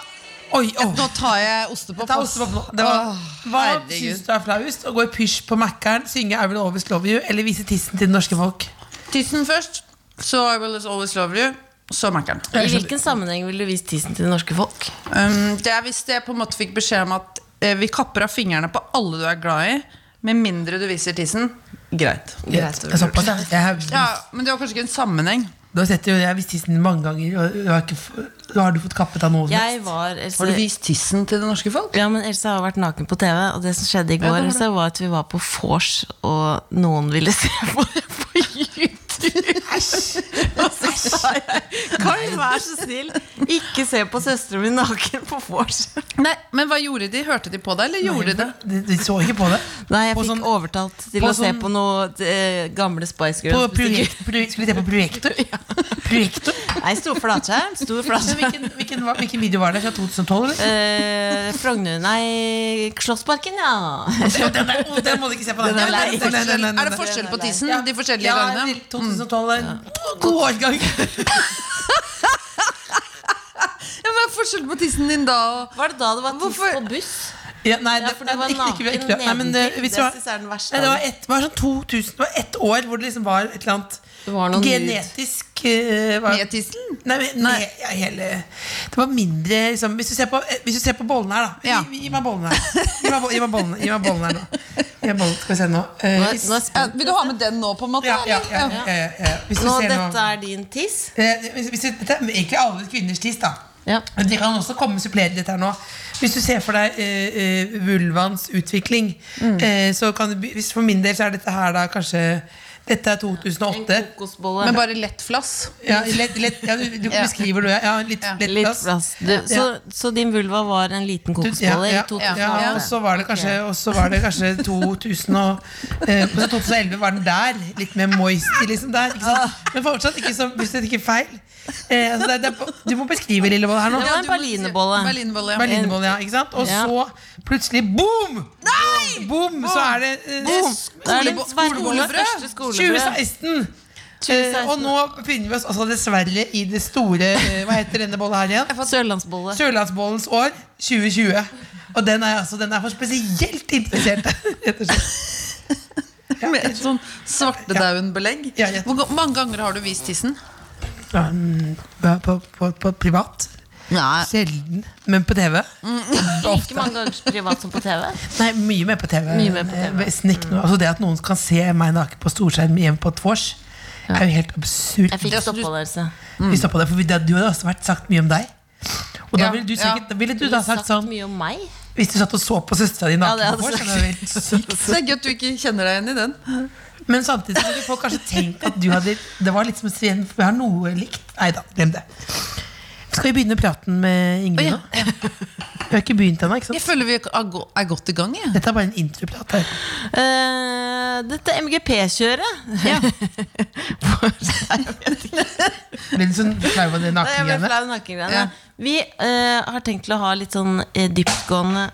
C: Oi, åh.
F: Nå tar jeg ostepop.
C: Ta
F: ass.
C: ostepop nå. Det var, hva
A: herregud.
C: syns du er flauest? Å gå i pysj på Mækkern, synge I Will Always Love You eller vise tissen til det norske folk?
F: Tissen først, så I will always love you, så Mækkern.
D: I hvilken sammenheng vil du vise tissen til det norske folk?
F: Um, det er hvis jeg på en måte fikk beskjed om at eh, vi kapper av fingrene på alle du er glad i, med mindre du viser tissen. Greit.
C: Greit, jeg såpass, jeg. jeg har,
F: Ja, Men det var kanskje ikke en sammenheng.
C: Du har sett jo, jeg har vist tissen mange ganger. Og du har, ikke, f- har du fått kappet av noe? som helst?
D: Jeg var Else,
F: vist tissen til det norske folk?
D: ja, men Else har vært naken på TV, og det som skjedde i går, Else, var at vi var på vors, og noen ville se på det på YouTube. Og så sa jeg Kai, vær så snill, ikke se på søsteren min naken på vors.
F: Nei, Men hva gjorde de? Hørte de på deg, eller gjorde de det?
C: De, de så ikke på det.
D: Nei, jeg
C: På
D: fikk
C: sånn-
D: overtalt til
C: på
D: å se
C: sånn-
D: på noe eh, gamle Spice
C: På
D: Girls. musikk.
C: projekt, pro, skulle vi se på projektor? projektor?
D: Nei, stor flatskjerm. Stor
C: Men
D: flatskjerm.
C: Hvilken, hvilken, var- hvilken video var det? Fra 2012? Eller?
D: Eh, Frogner Nei, Slottsparken, ja.
C: Ja, den, der, å, den må du ikke se på.
D: Den er lei.
C: Nei, nei, nei, nei, nei.
F: Er det forskjell på tissen de forskjellige
C: ja,
F: gangene? Mm.
C: til 2012 er en god årgang.
F: Ja, men forskjell på tissen din da og
D: Var det da det var tiss
F: Hvorfor-
D: på buss?
C: Ja, nei,
D: Ja, for det var
C: ikke- ikke- ikke-
D: naken
C: Nei, men det,
D: nedentil.
C: hvis
D: Det
C: du har-
D: synes jeg er den verste
C: Nei, det
D: av
C: var, et, det var sånn 2000, det var ett år hvor det liksom var et eller annet
D: Det var noen
C: genetisk eh, hva-
F: med tissen?
C: Nei, men- nei ja, hele, det var mindre liksom, hvis, du ser på, eh, hvis du ser på bollen her, da.
F: Ja.
C: Gi, gi meg bollen her. Gi meg, bo- gi meg, bollen, gi meg bollen her nå. Gi meg bollen, skal vi se nå. Eh,
D: Nå, er-
C: hvis-
D: nå, er
F: Ja,
D: spent.
F: vil du ha med den nå, på en måte?
C: ja, ja,
F: eller?
C: ja, ja, ja, ja. Hvis du
D: nå
C: ser nå
D: dette er din tiss.
C: Eh, hvis, hvis, du- Dette er egentlig alle kvinners tiss, da.
D: Ja.
C: Men Det kan også komme supplere litt her nå. Hvis du ser for deg eh, eh, vulvans utvikling, eh, så kan det bli- hvis For min del så er dette her da kanskje Dette er
D: En
C: 2008.
D: kokosbolle.
F: Men bare lett flass?
C: Ja, lett, lett, ja, du, du
F: Ja.
C: beskriver det. Ja, litt,
F: Ja.
C: lett
D: Litt
C: plass.
D: plass. Du, så, så din vulva var en liten
C: Du- ja,
D: kokosbolle
C: ja,
D: i
C: ja, ja, og
D: 2008?
C: så var det kanskje, og så var det kanskje 2000 og, eh, og så 2011 var den der. Litt mer moisty liksom der. Ikke sant? Men fortsatt ikke så hvis det ikke er feil. Eh, altså det, er- det, er- du må beskrive Lilleboll her nå.
D: Det var en berlinerbolle.
F: Berlinebolle, ja.
C: Berlinerbolle, ja, ikke sant? Og
D: Ja.
C: så plutselig boom! Nei! Boom, så er det eh,
D: Det er
F: Skolebo-
D: verdens største skolebrød.
C: 2016. Eh,
D: 2016.
C: og nå finner vi oss altså dessverre i det store eh, Hva heter denne bolla her igjen?
D: Sørlandsbolle.
C: Sørlandsbollens år 2020. Og den er, altså, den er for spesielt interesserte. rett og slett.
F: Med et sånn svartedauden-belegg.
C: Ja, ja.
F: Hvor ga- mange ganger har du vist tissen?
C: Ja, mm, på, på, på privat.
F: Nei.
C: Sjelden. Men på TV?
D: Mm. Like mange ganger privat som på TV.
C: Nei, mye mer på TV.
D: Mye mer på TV.
C: Eh, nesten ikke noe- Altså, det at noen kan se meg naken på storskjerm hjemme på et vors, er jo helt absurd.
D: Jeg fikk stoppholdelse.
C: Vi stoppa det, for vi, det, du hadde også vært sagt mye om deg. Og da
F: Ja,
C: ville du
F: ja.
C: sikkert da ville du
D: Du
C: da
D: har
C: sagt
D: sagt
C: sånn
D: mye om meg.
C: Hvis du satt og så på søstera di
D: Ja, det
C: naken
D: hadde
C: på vors,
D: jeg
C: så hadde det vært helt sykt.
F: Det er gøy at du ikke kjenner deg igjen i den.
C: Men samtidig så ville folk kanskje tenkt at du hadde Det var litt som å si vi har noe likt. Nei da, glem det. Skal vi begynne praten med Ingrid nå? Vi har ikke begynt ennå, ikke
F: Jeg
C: sant?
F: føler vi er go- er godt i gang. Jeg.
C: Dette er bare en introprat her.
D: Eh, dette MGP-kjøret
C: Blir du sånn flau av
D: Nei, jeg ble
C: det nakengreiene?
D: flau nakengreiene. Vi eh, har tenkt til å ha litt sånn eh, dyptgående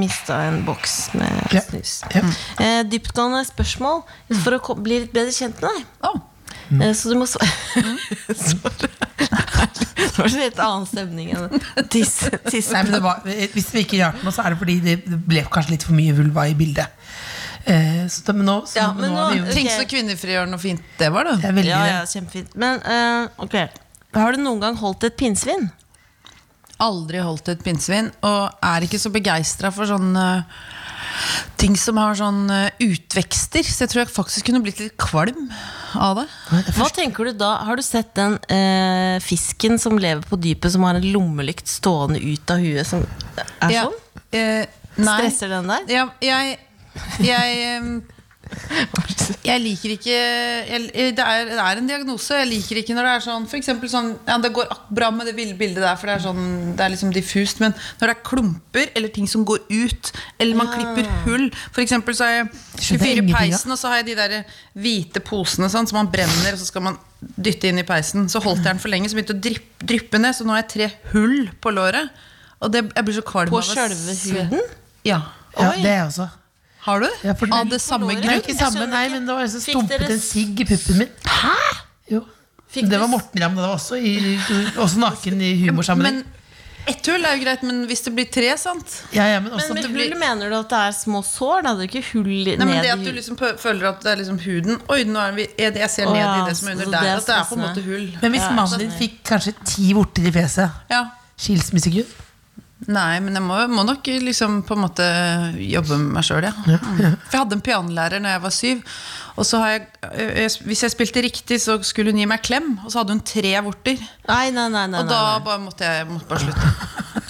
D: Mista en boks med
C: Ja.
D: snus.
C: Ja. Mm.
D: Eh, dyptgående spørsmål for å ko- bli litt bedre kjent med deg.
F: Å. Mm.
D: Eh, så du må svare Det var en helt annen stemning enn tisse. tisse.
C: Nei, men det var, hvis vi ikke hjalp nå, så er det fordi det det ble kanskje litt for mye vulva i bildet. Eh, så da, men nå, så,
D: Ja,
C: men
D: men
C: nå, har vi
D: nå-
C: jo,
D: Ok.
F: Tenk så kvinnefrigjørende og fint det var,
C: det
F: da.
C: er veldig
D: Ja, ja, kjempefint. Men eh, ok, har du noen gang holdt et pinnsvin?
F: Aldri holdt et pinnsvin, og er ikke så begeistra for sånne eh, ting som har sånn eh, utvekster. Så jeg tror jeg faktisk kunne blitt litt kvalm av det.
D: Hva tenker du da? Har du sett den eh, fisken som lever på dypet, som har en lommelykt stående ut av huet? Som er
F: Ja.
D: sånn?
F: Eh, nei.
D: Stresser den deg?
F: Ja, jeg jeg, em, jeg liker ikke jeg, eh, det, er, det er en diagnose. Jeg liker ikke når det er sånn For eksempel sånn ja, Det går ak- bra med det ville bildet der, for det er, sånn, det er liksom diffust. Men når det er klumper eller ting som går ut, eller man klipper hull For eksempel så har jeg 24
C: Skjønner
F: i
C: ingenting, ja.
F: peisen, og så har jeg de der hvite posene sånn, som man brenner, og så skal man dytte inn i peisen. Så holdt jeg den for lenge, så begynte det å drypp- dryppe ned, så nå har jeg tre hull på låret. Og det, jeg blir så kvalm
D: På
F: av å
D: sjølve
F: se-
D: huden?
F: Ja.
C: Ja, det er jeg også.
F: Har du?
C: Ja, for-
F: Av det samme
C: Nei,
F: grunn?
C: ikke samme,
D: skjønner
C: nei,
D: ikke.
C: men det var en som
D: Fikk
C: stumpet
D: dere-
C: en sigg i puppen min. Hæ? Jo.
G: Fikk
C: Det
G: du-
C: var Morten Ramm, det var også, i, også naken i humorsammenheng.
F: Men ett hull er jo greit, men hvis det blir tre, sant?
C: Ja, ja, men også
F: Sånn
D: Men
C: at
D: med
C: det blir
D: hull mener du at det er små sår? Da? Det er ikke hull
F: Nei, men
D: ned
F: Det
D: i
F: at du
D: hu-
F: liksom pø- føler at det er liksom huden Oi, nå er vi, er det, jeg ser
D: Å,
F: ned
D: ja,
F: i det som er under
D: så
F: der.
D: det er
F: At det er på en måte
D: stressende.
F: hull.
C: Men hvis
D: Ja,
C: mannen din fikk kanskje ti vorter i fjeset,
F: Ja.
C: skilsmissegrunn?
F: Nei, men jeg må, må nok liksom på en måte øh, jobbe med meg sjøl, ja. Mm. For jeg hadde en pianolærer når jeg var syv. Og så har jeg, ø- ø- hvis jeg spilte riktig, så skulle hun gi meg klem, og så hadde hun tre vorter.
D: Nei, nei, nei.
F: Og
D: nei, nei,
F: da
D: nei.
F: bare måtte jeg måtte bare slutte.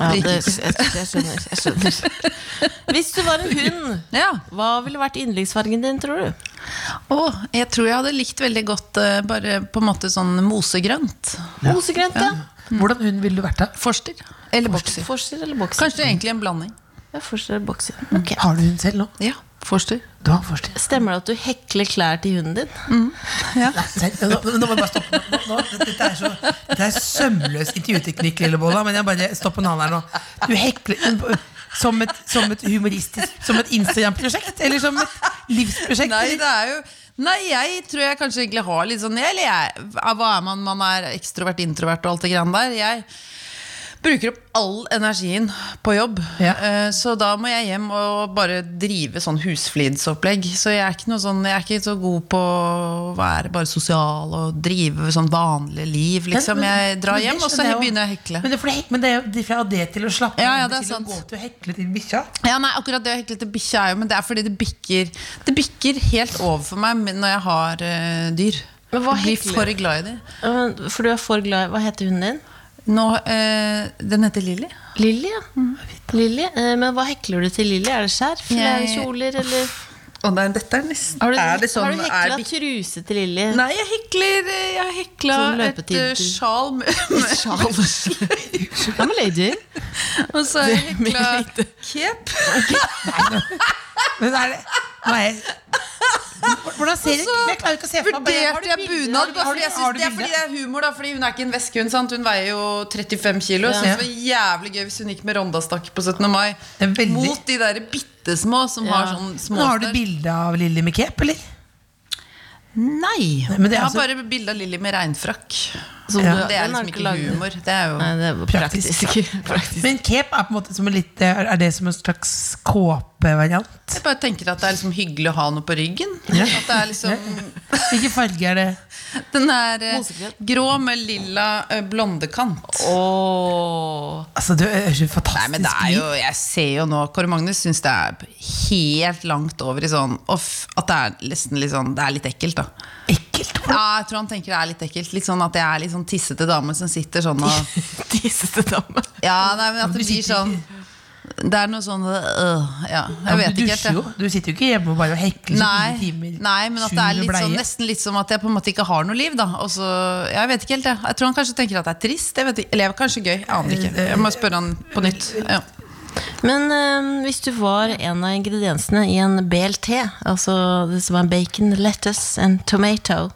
D: Ja, det, jeg, jeg skjønner, jeg skjønner. Hvis du var en hund,
F: Ja.
D: hva ville vært yndlingsfargen din, tror du?
F: Og jeg tror jeg hadde likt veldig godt eh, bare på en måte sånn mosegrønt.
D: Mosegrønt, ja.
C: Hvordan hun ville du vært da?
F: Forster eller bokser.
D: Forster eller bokser?
F: Kanskje Mm. egentlig en blanding.
D: Ja, forster eller bokser. Ok.
C: Har du hun selv nå?
F: Ja, forster.
C: Du har forstid.
D: Stemmer det at du hekler klær til hunden din?
C: Nei, selv- Nå, nå må jeg bare stoppe. Nå, nå, dette er så det er sømløs intervjuteknikk, Lillebolla, men jeg bare stopper en annen her nå. Du hekler hun- som et, som et humoristisk Som et Instagram-prosjekt? Eller som et livsprosjekt?
F: Nei,
C: eller?
F: det er jo Nei, jeg tror jeg kanskje egentlig har litt sånn Eller jeg, hva er man? Man er ekstrovert, introvert og alt det greiene der. Jeg bruker opp all energien på jobb.
C: Ja.
F: Eh, Så da må jeg hjem og bare drive sånn husflidsopplegg. Så jeg er ikke noe sånn Jeg er ikke så god på å være bare sosial og drive sånn vanlig liv, liksom. Jeg drar hjem, og så begynner jeg å hekle.
C: Men det, for det, men det er jo fra det til å slappe
F: Ja, ja,
C: av
F: det er
C: til
F: sant.
C: å gå til å hekle til bikkja.
F: Ja, nei, akkurat det å hekle til bikkja er jo Men det er fordi det bikker Det bikker helt over for meg men- når jeg har eh, dyr.
D: Men hva
F: jeg blir
D: hekler-
F: for glad i dem.
D: Ja, men- For du er for glad i Hva heter hunden din?
F: Nå, eh, den heter Lilly.
D: Lilly, ja. Lilly. Mm. Eh, Men hva hekler du til Lilly? Er det skjerf? Eller er det
F: Jeg-
D: kjoler? Eller?
F: Og nei, dette er nesten
D: Har du,
F: er det sånn,
D: har du
F: er
D: hekla
F: det bik-
D: truse til Lilly?
F: Nei, jeg hekler eh, Jeg hekla et
D: Sånn
F: eh,
D: løpetid til-
F: sjal med, med
D: I'm a lady.
F: Og så har jeg
D: Det
F: hekla cape.
C: Men er det, nå er jeg, hvordan ser det ut? Jeg klarer ikke å se for meg. bare- har du
F: Vurderte jeg
C: bilder?
F: bunad
C: Har du-
F: bare
C: har
F: fordi
C: du-
F: jeg synes
C: har du
F: det er
C: bilder?
F: fordi det er humor, da. Fordi hun er ikke en veske, hun. sant? Hun veier jo 35 kilo. Så
C: Ja.
F: det var jævlig gøy hvis hun gikk med rondastakk på 17. mai.
C: Det er veldig-
F: Mot de der bitte små som
D: Ja.
F: har sånn
C: Men
F: små
C: har du bilde av Lilly med cape, eller?
F: Nei.
C: Nei, men det
F: jeg
C: er
F: har
C: altså-
F: bare bilde av Lilly med regnfrakk.
D: Som
C: Ja.
D: du-
F: Det er
D: Sånn, den har
F: liksom
D: du
F: ikke
D: lagd.
F: humor. Det er jo
D: Nei, det er praktisk. praktisk.
C: Men cape er på en måte som en litt eh, Er er det som en slags kåpevariant?
F: Jeg bare tenker at det er liksom hyggelig å ha noe på ryggen.
C: Ja.
F: At det er liksom
C: Hvilken farge er det?
F: Den er eh,
D: Mosegrønn.
F: grå med lilla eh, blondekant.
D: Åh.
C: Altså, du er jo
F: Nei,
C: fantastisk
F: men det er jo, jeg ser jo nå Kåre Magnus syns det er helt langt over i sånn off, At det er nesten litt sånn Det er litt ekkelt, da.
C: ekkelt.
F: Ja, jeg tror han tenker det er litt ekkelt. Litt sånn At jeg er litt sånn tissete dame som sitter sånn og
D: Tissete dame.
F: Ja, nei, men at det
C: Du
F: blir
C: sitter
F: sånn Det er noe sånn øh, Ja,
C: Ja,
F: jeg
C: men
F: vet
C: du
F: ikke
C: dusjer
F: helt.
C: jo.
F: jeg.
C: Du sitter jo ikke hjemme og bare hekler så
F: Nei,
C: fire timer.
F: nei, men at
C: sju
F: det er
C: med
F: litt sånn,
C: bleie.
F: nesten litt som at jeg på en måte ikke har noe liv. da Og så, Jeg vet ikke helt det. Jeg tror han kanskje tenker at det er trist. Jeg vet ikke, eller kanskje gøy. Jeg aner ikke. Jeg må spørre han på nytt. Ja.
D: Men eh, hvis du var en av ingrediensene i en BLT, altså det som er bacon, lettuce and tomato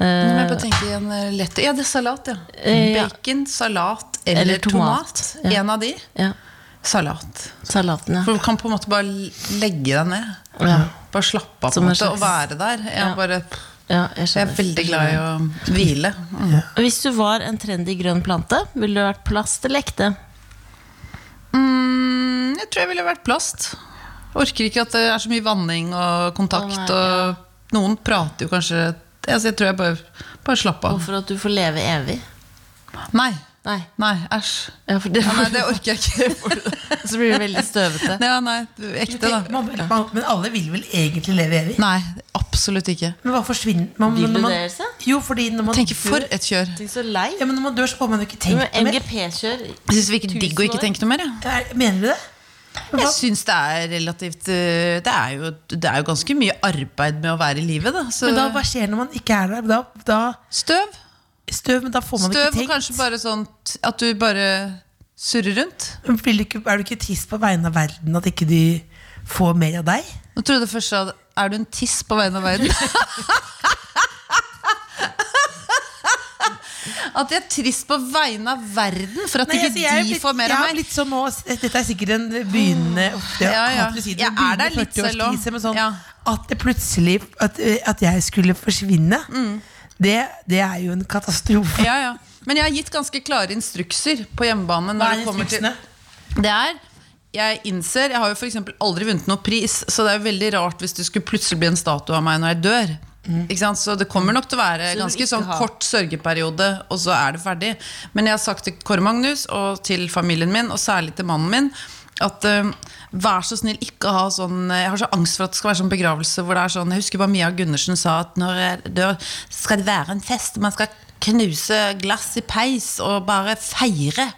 F: Nå må jeg bare tenke igjen eh, lett Ja, det er salat, ja.
D: Eh, ja.
F: Bacon, salat eller,
D: Eller tomat,
F: tomat.
D: ja.
F: En av de.
D: Ja,
F: Salat.
D: salaten, ja.
F: For du kan på en måte bare legge deg ned.
D: Ja,
F: Bare slappe av på
D: Som
F: en
D: en
F: måte og
D: slags-
F: være der. Jeg,
D: Ja.
F: bare,
D: ja jeg
F: jeg er
D: skjønner.
F: veldig glad i å hvile. Mm.
D: Og Hvis du var en trendy grønn plante, ville du vært plast eller ekte?
F: Mm, Jeg tror jeg ville vært plast. Orker ikke at det er så mye vanning og kontakt.
D: Å, nei, ja.
F: Og noen prater jo kanskje altså, Jeg tror jeg bare, bare slapp av.
D: Hvorfor at du får leve evig?
F: Nei.
D: Nei.
F: Nei, æsj.
D: Ja, for det,
F: Ja, nei, det orker jeg ikke.
D: Så blir du veldig støvete.
F: Ja, nei, ekte, da. Mm.
C: Man, man, men alle vil vel egentlig leve evig?
F: Nei, absolutt ikke.
C: Men hva forsvinner man,
D: Vil
C: når
D: du
C: man
D: det, Else?
C: Jo, fordi når man
F: Tenker
C: dør-
F: for et kjør.
D: Tenk så lei.
C: Ja, men når man dør, så får man jo ikke tenkt noe mer.
D: MGP-kjør.
F: Jeg syns det virker
D: Tusen
F: digg å ikke
D: år.
F: tenke noe mer. jeg.
C: Er- Mener du det? Men
F: Jeg
C: hva-
F: syns det er relativt øh, det er, jo, det er jo ganske mye arbeid med å være i livet, da. Så
C: Men da, hva skjer når man ikke er der? Da, da,
F: støv.
C: støv, men da får man
F: Støv og
C: ikke
F: kanskje
C: tenkt.
F: bare sånn t- at du bare surrer rundt.
C: Vil du ikke, er du ikke trist på vegne av verden at ikke de får mer av deg?
F: Nå trodde jeg først jeg hadde Er du en tiss på vegne av verden? At jeg er trist på vegne av verden for at
C: Nei, altså,
F: ikke
C: jeg er
F: de
C: blitt-
F: får mer
C: jeg
F: av
C: er
F: meg.
C: blitt sånn nå, s- Dette er sikkert en begynnende uff, det-
F: Ja, ja.
C: hater å si det,
F: Jeg
C: men begynnende
F: er der litt selv
C: 40-årskrise,
F: også.
C: men sånn,
F: Ja.
C: At det plutselig at, eh, at jeg skulle forsvinne Det, det er jo en katastrofe.
F: Ja, ja. Men jeg har gitt ganske klare instrukser på hjemmebane. Når det kommer til Det er jeg innser, jeg har jo for eksempel aldri vunnet noen pris, så det er jo veldig rart hvis det skulle plutselig bli en statue av meg når jeg dør.
C: Mm.
F: Ikke sant? Så det kommer nok til å være
D: du vil
F: ganske
D: ikke
F: sånn
D: ha-
F: kort sørgeperiode, og så er det ferdig. Men jeg har sagt til Kåre Magnus og til familien min, og særlig til mannen min, at eh, vær så snill, ikke ha sånn Jeg har så angst for at det skal være sånn begravelse hvor det er sånn Jeg husker bare Mia Gundersen sa at når jeg dør, skal det være en fest. Man skal knuse glass i peis og bare feire.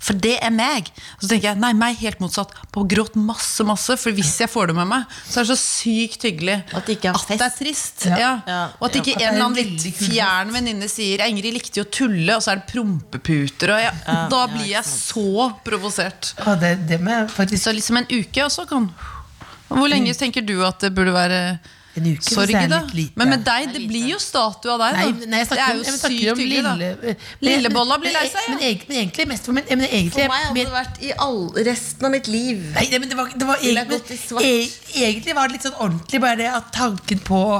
F: For det er meg. Og så tenker jeg nei, meg helt motsatt. På gråt masse, masse. For hvis jeg får det med meg, så er det så sykt hyggelig
D: At det ikke er fest.
F: det er trist. Ja.
D: Ja.
F: Og at ikke en
C: At det er
F: eller
C: en
F: annen
C: veldig
F: litt
C: kul
F: fjern venninne sier 'Ingrid likte jo å tulle', og så er det prompeputer. Og jeg, da
D: ja,
F: blir
D: ikke
F: jeg så provosert.
C: Ja, det, det må jeg faktisk
F: Så liksom en uke, og så kan Hvor lenge tenker du at det burde være
C: Mm. En uke, hvis
F: sorg
C: det er
F: i, da?
C: litt lite.
F: Men med deg, det blir jo statue av deg, da.
C: Nei, nei,
F: det
C: jeg snakker
F: er
C: om,
F: jo
C: jeg
F: sykt
C: snakker om
F: hyggelig, da.
C: lille eh, men-
F: Lillebolla blir
C: men-
F: lei seg, ja.
C: Men, egentlig- men egentlig mest for men, men egentlig,
G: For meg hadde det vært i all, resten av mitt liv.
C: Nei, nei, men det var, det var
G: Ville
C: egentlig,
G: gått i svart.
C: e- egentlig var det litt sånn ordentlig bare det at tanken på å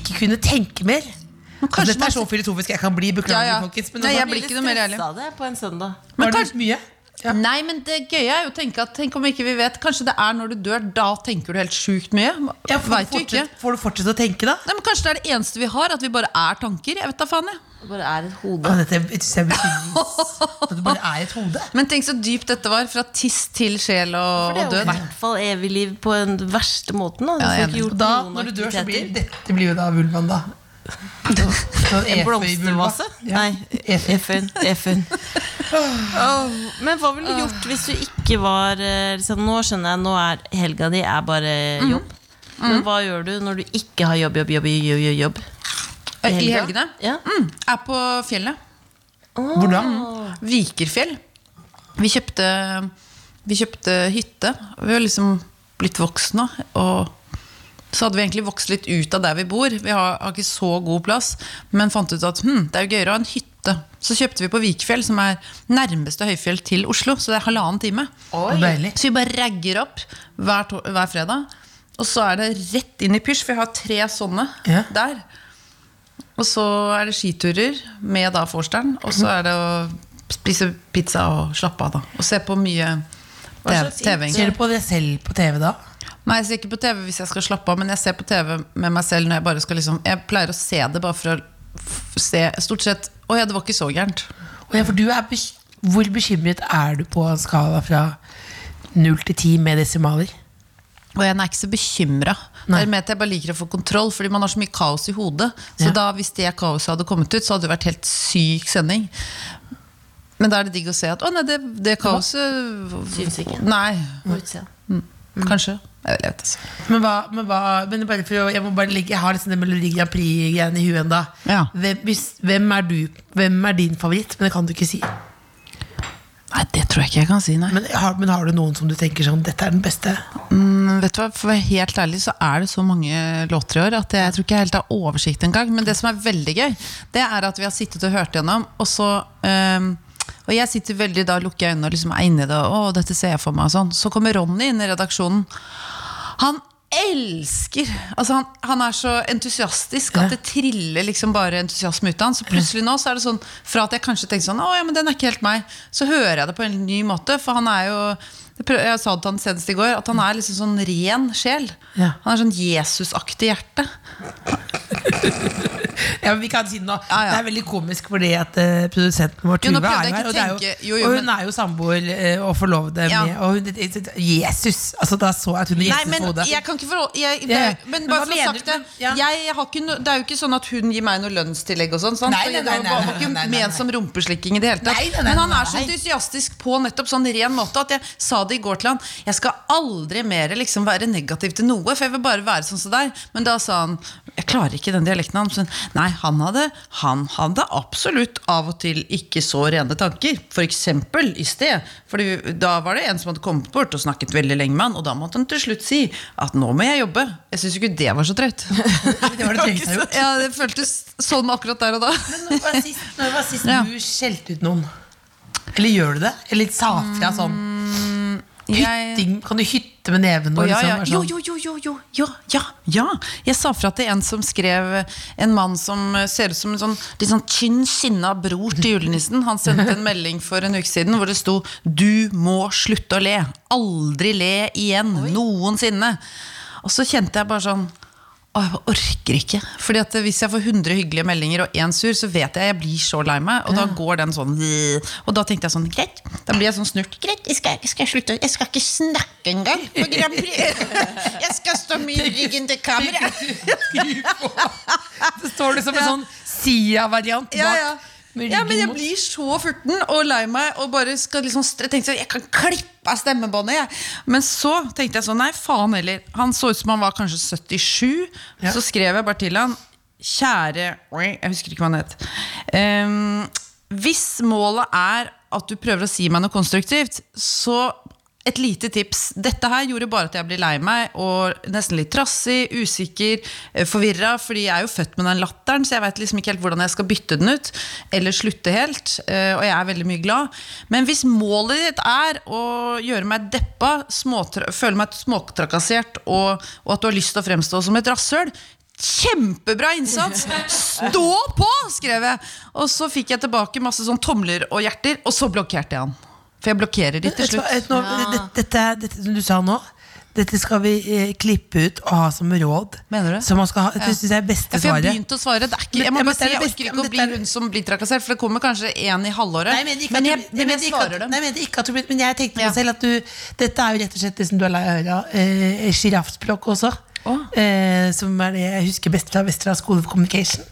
C: ikke kunne tenke mer. Altså,
F: kanskje
C: dette er så filosofisk jeg kan bli, beklager,
F: Ja, ja.
C: folkens. Men
F: Nei,
C: nå
F: jeg
C: var-
F: blir ikke noe mer ærlig.
D: Stressa det på en søndag.
F: Men
C: var det
F: kanskje-
C: litt mye? Ja.
F: Nei, men det gøye er jo å tenke at Tenk om ikke vi vet Kanskje det er når du dør, da tenker du helt sjukt mye.
C: Ja,
F: Ja,
C: får,
F: Veit
C: du
F: jo ikke.
C: fortsette, får du fortsette å tenke, da?
F: Nei, men Kanskje det er det eneste vi har, at vi bare er tanker. Jeg vet da faen, jeg.
D: Det bare er et hode.
C: Ja, dette synes jeg er betydnings- At det bare er et hode.
F: Men tenk så dypt dette var. Fra tiss til sjel og, og
D: Det er jo i
F: død.
D: hvert fall evig liv på den verste måten. Da. Du
F: jeg
D: får
F: er
D: ikke
F: enig.
D: gjort
C: Da,
D: noen
C: når du dør, så blir
D: aktiviteter.
C: dette blir jo da vulvaen, da.
D: En blomstervase? Nei, FN. FN. Åh, men hva ville du gjort hvis du ikke var eh, liksom, Nå skjønner jeg, nå er helga di er bare
C: Mhm.
D: jobb. Men hva gjør du når du ikke har jobb, jobb, jobb, jobb? jobb, jobb?
F: I helgene?
D: Ja.
C: Mhm.
F: Mm, er på fjellet.
C: Hvor da?
F: Vikerfjell. Vi kjøpte, vi kjøpte hytte. Vi har liksom blitt voksne. Og så hadde vi egentlig vokst litt ut av der vi bor. Vi har, har ikke så god plass, men fant ut at hm, det er jo gøyere å ha en hytte. Så kjøpte vi på Vikefjell, som er nærmeste høyfjell til Oslo. Så det er halvannen time.
C: Oi. Deilig.
F: Så vi bare ragger opp hver, to hver fredag. Og så er det rett inn i pysj, for jeg har tre sånne
C: Ja.
F: der. Og så er det skiturer med da vorsteren. Og så er det å spise pizza og slappe av, da. Og se på mye TV. TV
C: Ser
F: egentlig.
C: du på deg selv på TV da?
F: Nei, jeg ser ikke på TV hvis jeg skal slappe av, men jeg ser på TV med meg selv når jeg bare skal liksom Jeg pleier å se det bare for å f- se Stort sett Å ja, det var ikke så gærent.
C: Og ja, for du er bek- Hvor bekymret er du på en skala fra 0 til 10 med desimaler?
F: Og jeg er ikke så bekymra. Det
C: Nei.
F: er med at jeg bare liker å få kontroll, fordi man har så mye kaos i hodet. Så
C: Ja.
F: da, hvis det kaoset hadde kommet ut, så hadde det vært helt syk sending. Men da er det digg å se at å nei, det, det kaoset
D: Syns ikke.
F: Nei.
D: På utsida.
F: Kanskje. Mm. Jeg vet altså. ikke.
C: Men hva, men hva men bare for å, Jeg må bare legge, jeg har liksom det Melodi Grand Prix-greiene i huet ennå.
F: Ja.
C: Hvem, hvis- hvem er du? Hvem er din favoritt? Men det kan du ikke si.
F: Nei, det tror jeg ikke jeg kan si, nei.
C: Men har, men har du noen som du tenker sånn Dette er den beste?
F: Men Mm, vet du hva, For å være helt ærlig så er det så mange låter i år at jeg tror ikke jeg helt har oversikt engang. Men det som er veldig gøy, det er at vi har sittet og hørt gjennom, og så ehm, Og jeg sitter veldig da lukker jeg øynene og liksom er inni det, og dette ser jeg for meg og sånn. Så kommer Ronny inn i redaksjonen. Han elsker altså han, han er så entusiastisk at det triller liksom bare entusiasme ut av han Så plutselig nå så er det sånn Fra at jeg kanskje tenkte sånn Å ja, men den er ikke helt meg Så hører jeg det på en ny måte For han er jo Jeg, prøv, jeg sa det til han senest i går At han er liksom sånn ren sjel
C: Ja.
F: Han er sånn Jesus-aktig hjerte
C: Ja, men vi kan si det nå.
F: Ja, ja.
C: Det er veldig komisk fordi at eh, produsenten vår
F: Jo, nå
C: Tuva
F: prøvde jeg
C: er jo
F: ikke
C: her. Og, det er jo,
F: tenke- jo, jo,
C: og hun
F: men-
C: er jo samboer eh, og forlovede
F: Ja.
C: med og hun, Jesus! Altså, da så jeg at hun hadde
F: Nei,
C: Jesus
F: men
C: på hodet.
F: jeg kan ikke forholde jeg, det,
C: Ja, ja.
F: Men
C: Men
F: bare
C: hva
F: for å ha
C: mener
F: sagt
C: du?
F: det
C: Ja.
F: jeg, jeg har ikke no, Det er jo ikke sånn at hun gir meg noe lønnstillegg og sånn sant?
C: Nei,
F: Så
C: nei,
F: det var-
C: nei, nei,
F: var ikke
C: nei, nei, nei,
F: ment
C: nei.
F: som rumpeslikking i det hele tatt
C: Nei, nei, nei,
F: Men han
C: nei,
F: er så
C: nei.
F: entusiastisk på nettopp sånn ren måte At jeg sa det i går til han Jeg skal aldri mer liksom være negativ til noe For jeg vil bare være sånn som deg Men da sa han Jeg klarer ikke den dialekten hans men Nei, han hadde, han hadde absolutt av og til ikke så rene tanker For eksempel i sted Fordi da var det en som hadde kommet bort og snakket veldig lenge med han Og da måtte han til slutt si at nå må jeg jobbe Jeg synes jo ikke det var så drøyt
C: Det var det trengste jeg har gjort.
F: Ja, det føltes sånn akkurat der og da
C: Når var sist, når var sist
F: Ja.
C: du skjelte ut noen? Eller gjør du det? Eller sa fra sånn?
F: Mm, Jeg-
C: Hytting, kan du hytte med neven?
F: Å,
C: og
F: ja,
C: liksom
F: ja.
C: være
F: Jo,
C: sånn-
F: jo, jo, jo, jo, ja, ja, ja. Jeg sa fra til en som skrev eh, En mann som eh, ser ut som en sånn litt sånn tynn, sinna bror til julenissen. Han sendte en melding for en uke siden hvor det sto 'Du må slutte å le'. Aldri le igjen. Noensinne. Og så kjente jeg bare sånn Å, jeg bare orker ikke. Fordi at hvis jeg får 100 hyggelige meldinger og én sur, så vet jeg jeg blir så lei meg. Og da går den sånn Og da tenkte jeg sånn Greit. Da blir jeg sånn snurt.
E: Greit, jeg skal, jeg skal slutte å- Jeg skal ikke snakke engang på Grand Prix. Jeg skal stå med ryggen til kamera.
C: Det står det som en sånn Sia-variant bak.
F: ja, ja.
C: med
F: ja, men
C: ryggen
F: jeg
C: mot-
F: blir så furten og lei meg og bare skal liksom stre- tenkte sånn, jeg kan klippe av stemmebåndet. Jeg. Men så tenkte jeg sånn, nei faen heller. Han så ut som han var kanskje 77. Så skrev jeg bare til han, kjære Jeg husker ikke hva han het. Ehm, hvis målet er at du prøver å si meg noe konstruktivt, så et lite tips. Dette her gjorde bare at jeg ble lei meg og nesten litt trassig, usikker, forvirra. Fordi jeg er jo født med den latteren, så jeg veit liksom ikke helt hvordan jeg skal bytte den ut. Eller slutte helt. eh, Og jeg er veldig mye glad. Men hvis målet ditt er å gjøre meg deppa, småtra føle meg småtrakassert, og, og at du har lyst til å fremstå som et rasshøl, Kjempebra innsats! Stå på! skrev jeg. Og så fikk jeg tilbake masse sånn tomler og hjerter, og så blokkerte jeg han. For jeg blokkerer de til
C: Vet du hva,
F: slutt.
C: vet du hva, det- Dette, dette som du sa nå, dette skal vi eh, klippe ut og ha som råd.
F: Mener du?
C: Som man skal ha, det synes jeg er
F: Ja,
C: beste
F: for jeg har
C: svaret.
F: begynt å svare. Det er ikke,
C: Men-
F: jeg må
C: ja, men
F: bare
C: det er
F: si, jeg
C: det beste.
F: orker
C: Ja,
F: ikke
C: men
F: å bli
C: dette er-
F: hun som blir trakassert, for det kommer kanskje én i halvåret.
C: Nei, men, ikke,
F: men
C: at
F: jeg,
C: du- nei,
F: men
C: men
F: jeg
C: ikke at-
F: svarer dem.
C: Nei, men, ikke at du, blir- men jeg tenkte på
F: Ja.
C: meg selv at du Dette er jo rett og slett det som du er lei av å Sjiraffspråk også.
F: Å.
C: Eh, som er det jeg husker best fra Vestra School of Communication.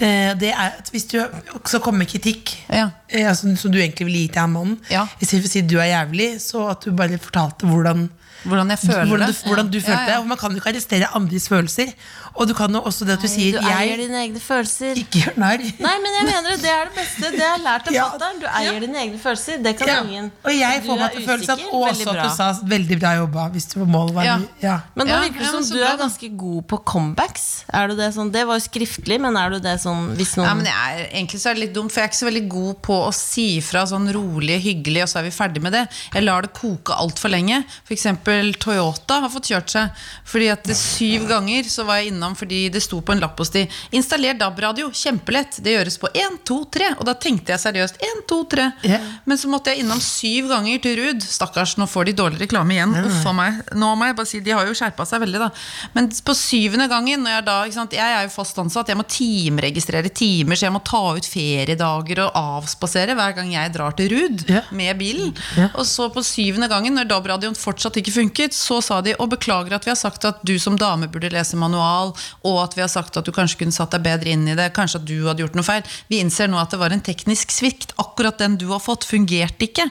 C: Eh, det er at Hvis du også kommer med kritikk,
F: Ja.
C: eh, altså, som du egentlig ville gi til han mannen,
F: Ja.
C: i stedet for å si du er jævlig, så at du bare fortalte hvordan
F: Hvordan jeg føler
C: hvordan du,
F: det.
C: hvordan du
F: Ja, ja.
C: følte det. Og man kan jo ikke arrestere andres følelser. Og du kan jo også det at du
D: Du
C: sier
D: eier
C: 'jeg
D: dine egne følelser.
C: ikke gjør narr'.
D: Nei, men jeg mener det, det er det beste. Det har jeg lært av
C: Ja.
D: fatter'n. Du eier dine egne følelser. Det kan
C: Ja.
D: ingen.
C: Og jeg
D: Du
C: får meg
D: er
C: til å føle at
D: usikker.
C: Og
D: Veldig
C: også at
D: bra.
C: du sa 'veldig bra jobba' hvis du målet var
F: Ja.
C: ny. Ja.
D: Men da
F: Ja,
D: virker det
F: ja,
D: som
F: men så
D: du
F: bra,
D: er
F: da.
D: ganske god på comebacks. Er du det sånn? Det var jo skriftlig, men er du det sånn hvis noen
F: Nei, men jeg er, egentlig så er det litt dumt, for jeg er ikke så veldig god på å si fra sånn rolig, hyggelig, og så er vi ferdig med det. Jeg lar det koke altfor lenge. F.eks. Toyota har fått kjørt seg. Fordi at det syv ganger så var jeg innom fordi det sto på en lapp hos de. Installer DAB-radio. Kjempelett. Det gjøres på 1, 2, 3. Og da tenkte jeg seriøst 1, 2, 3.
C: Ja.
F: Men så måtte jeg innom syv ganger til Ruud. Stakkars, nå får de dårlig reklame igjen. Uff a meg. Nå må jeg bare si, De har jo skjerpa seg veldig, da. Men på syvende gangen, når jeg da ikke sant, Jeg er jo fast ansatt, jeg må timeregistrere timer, så jeg må ta ut feriedager og avspasere hver gang jeg drar til Ruud
C: Ja.
F: med bilen.
C: Ja.
F: Og så på syvende gangen, når DAB-radioen fortsatt ikke funket, så sa de og beklager at vi har sagt at du som dame burde lese manual, og at vi har sagt at du kanskje kunne satt deg bedre inn i det, kanskje at du hadde gjort noe feil. Vi innser nå at det var en teknisk svikt. Akkurat den du har fått, fungerte ikke.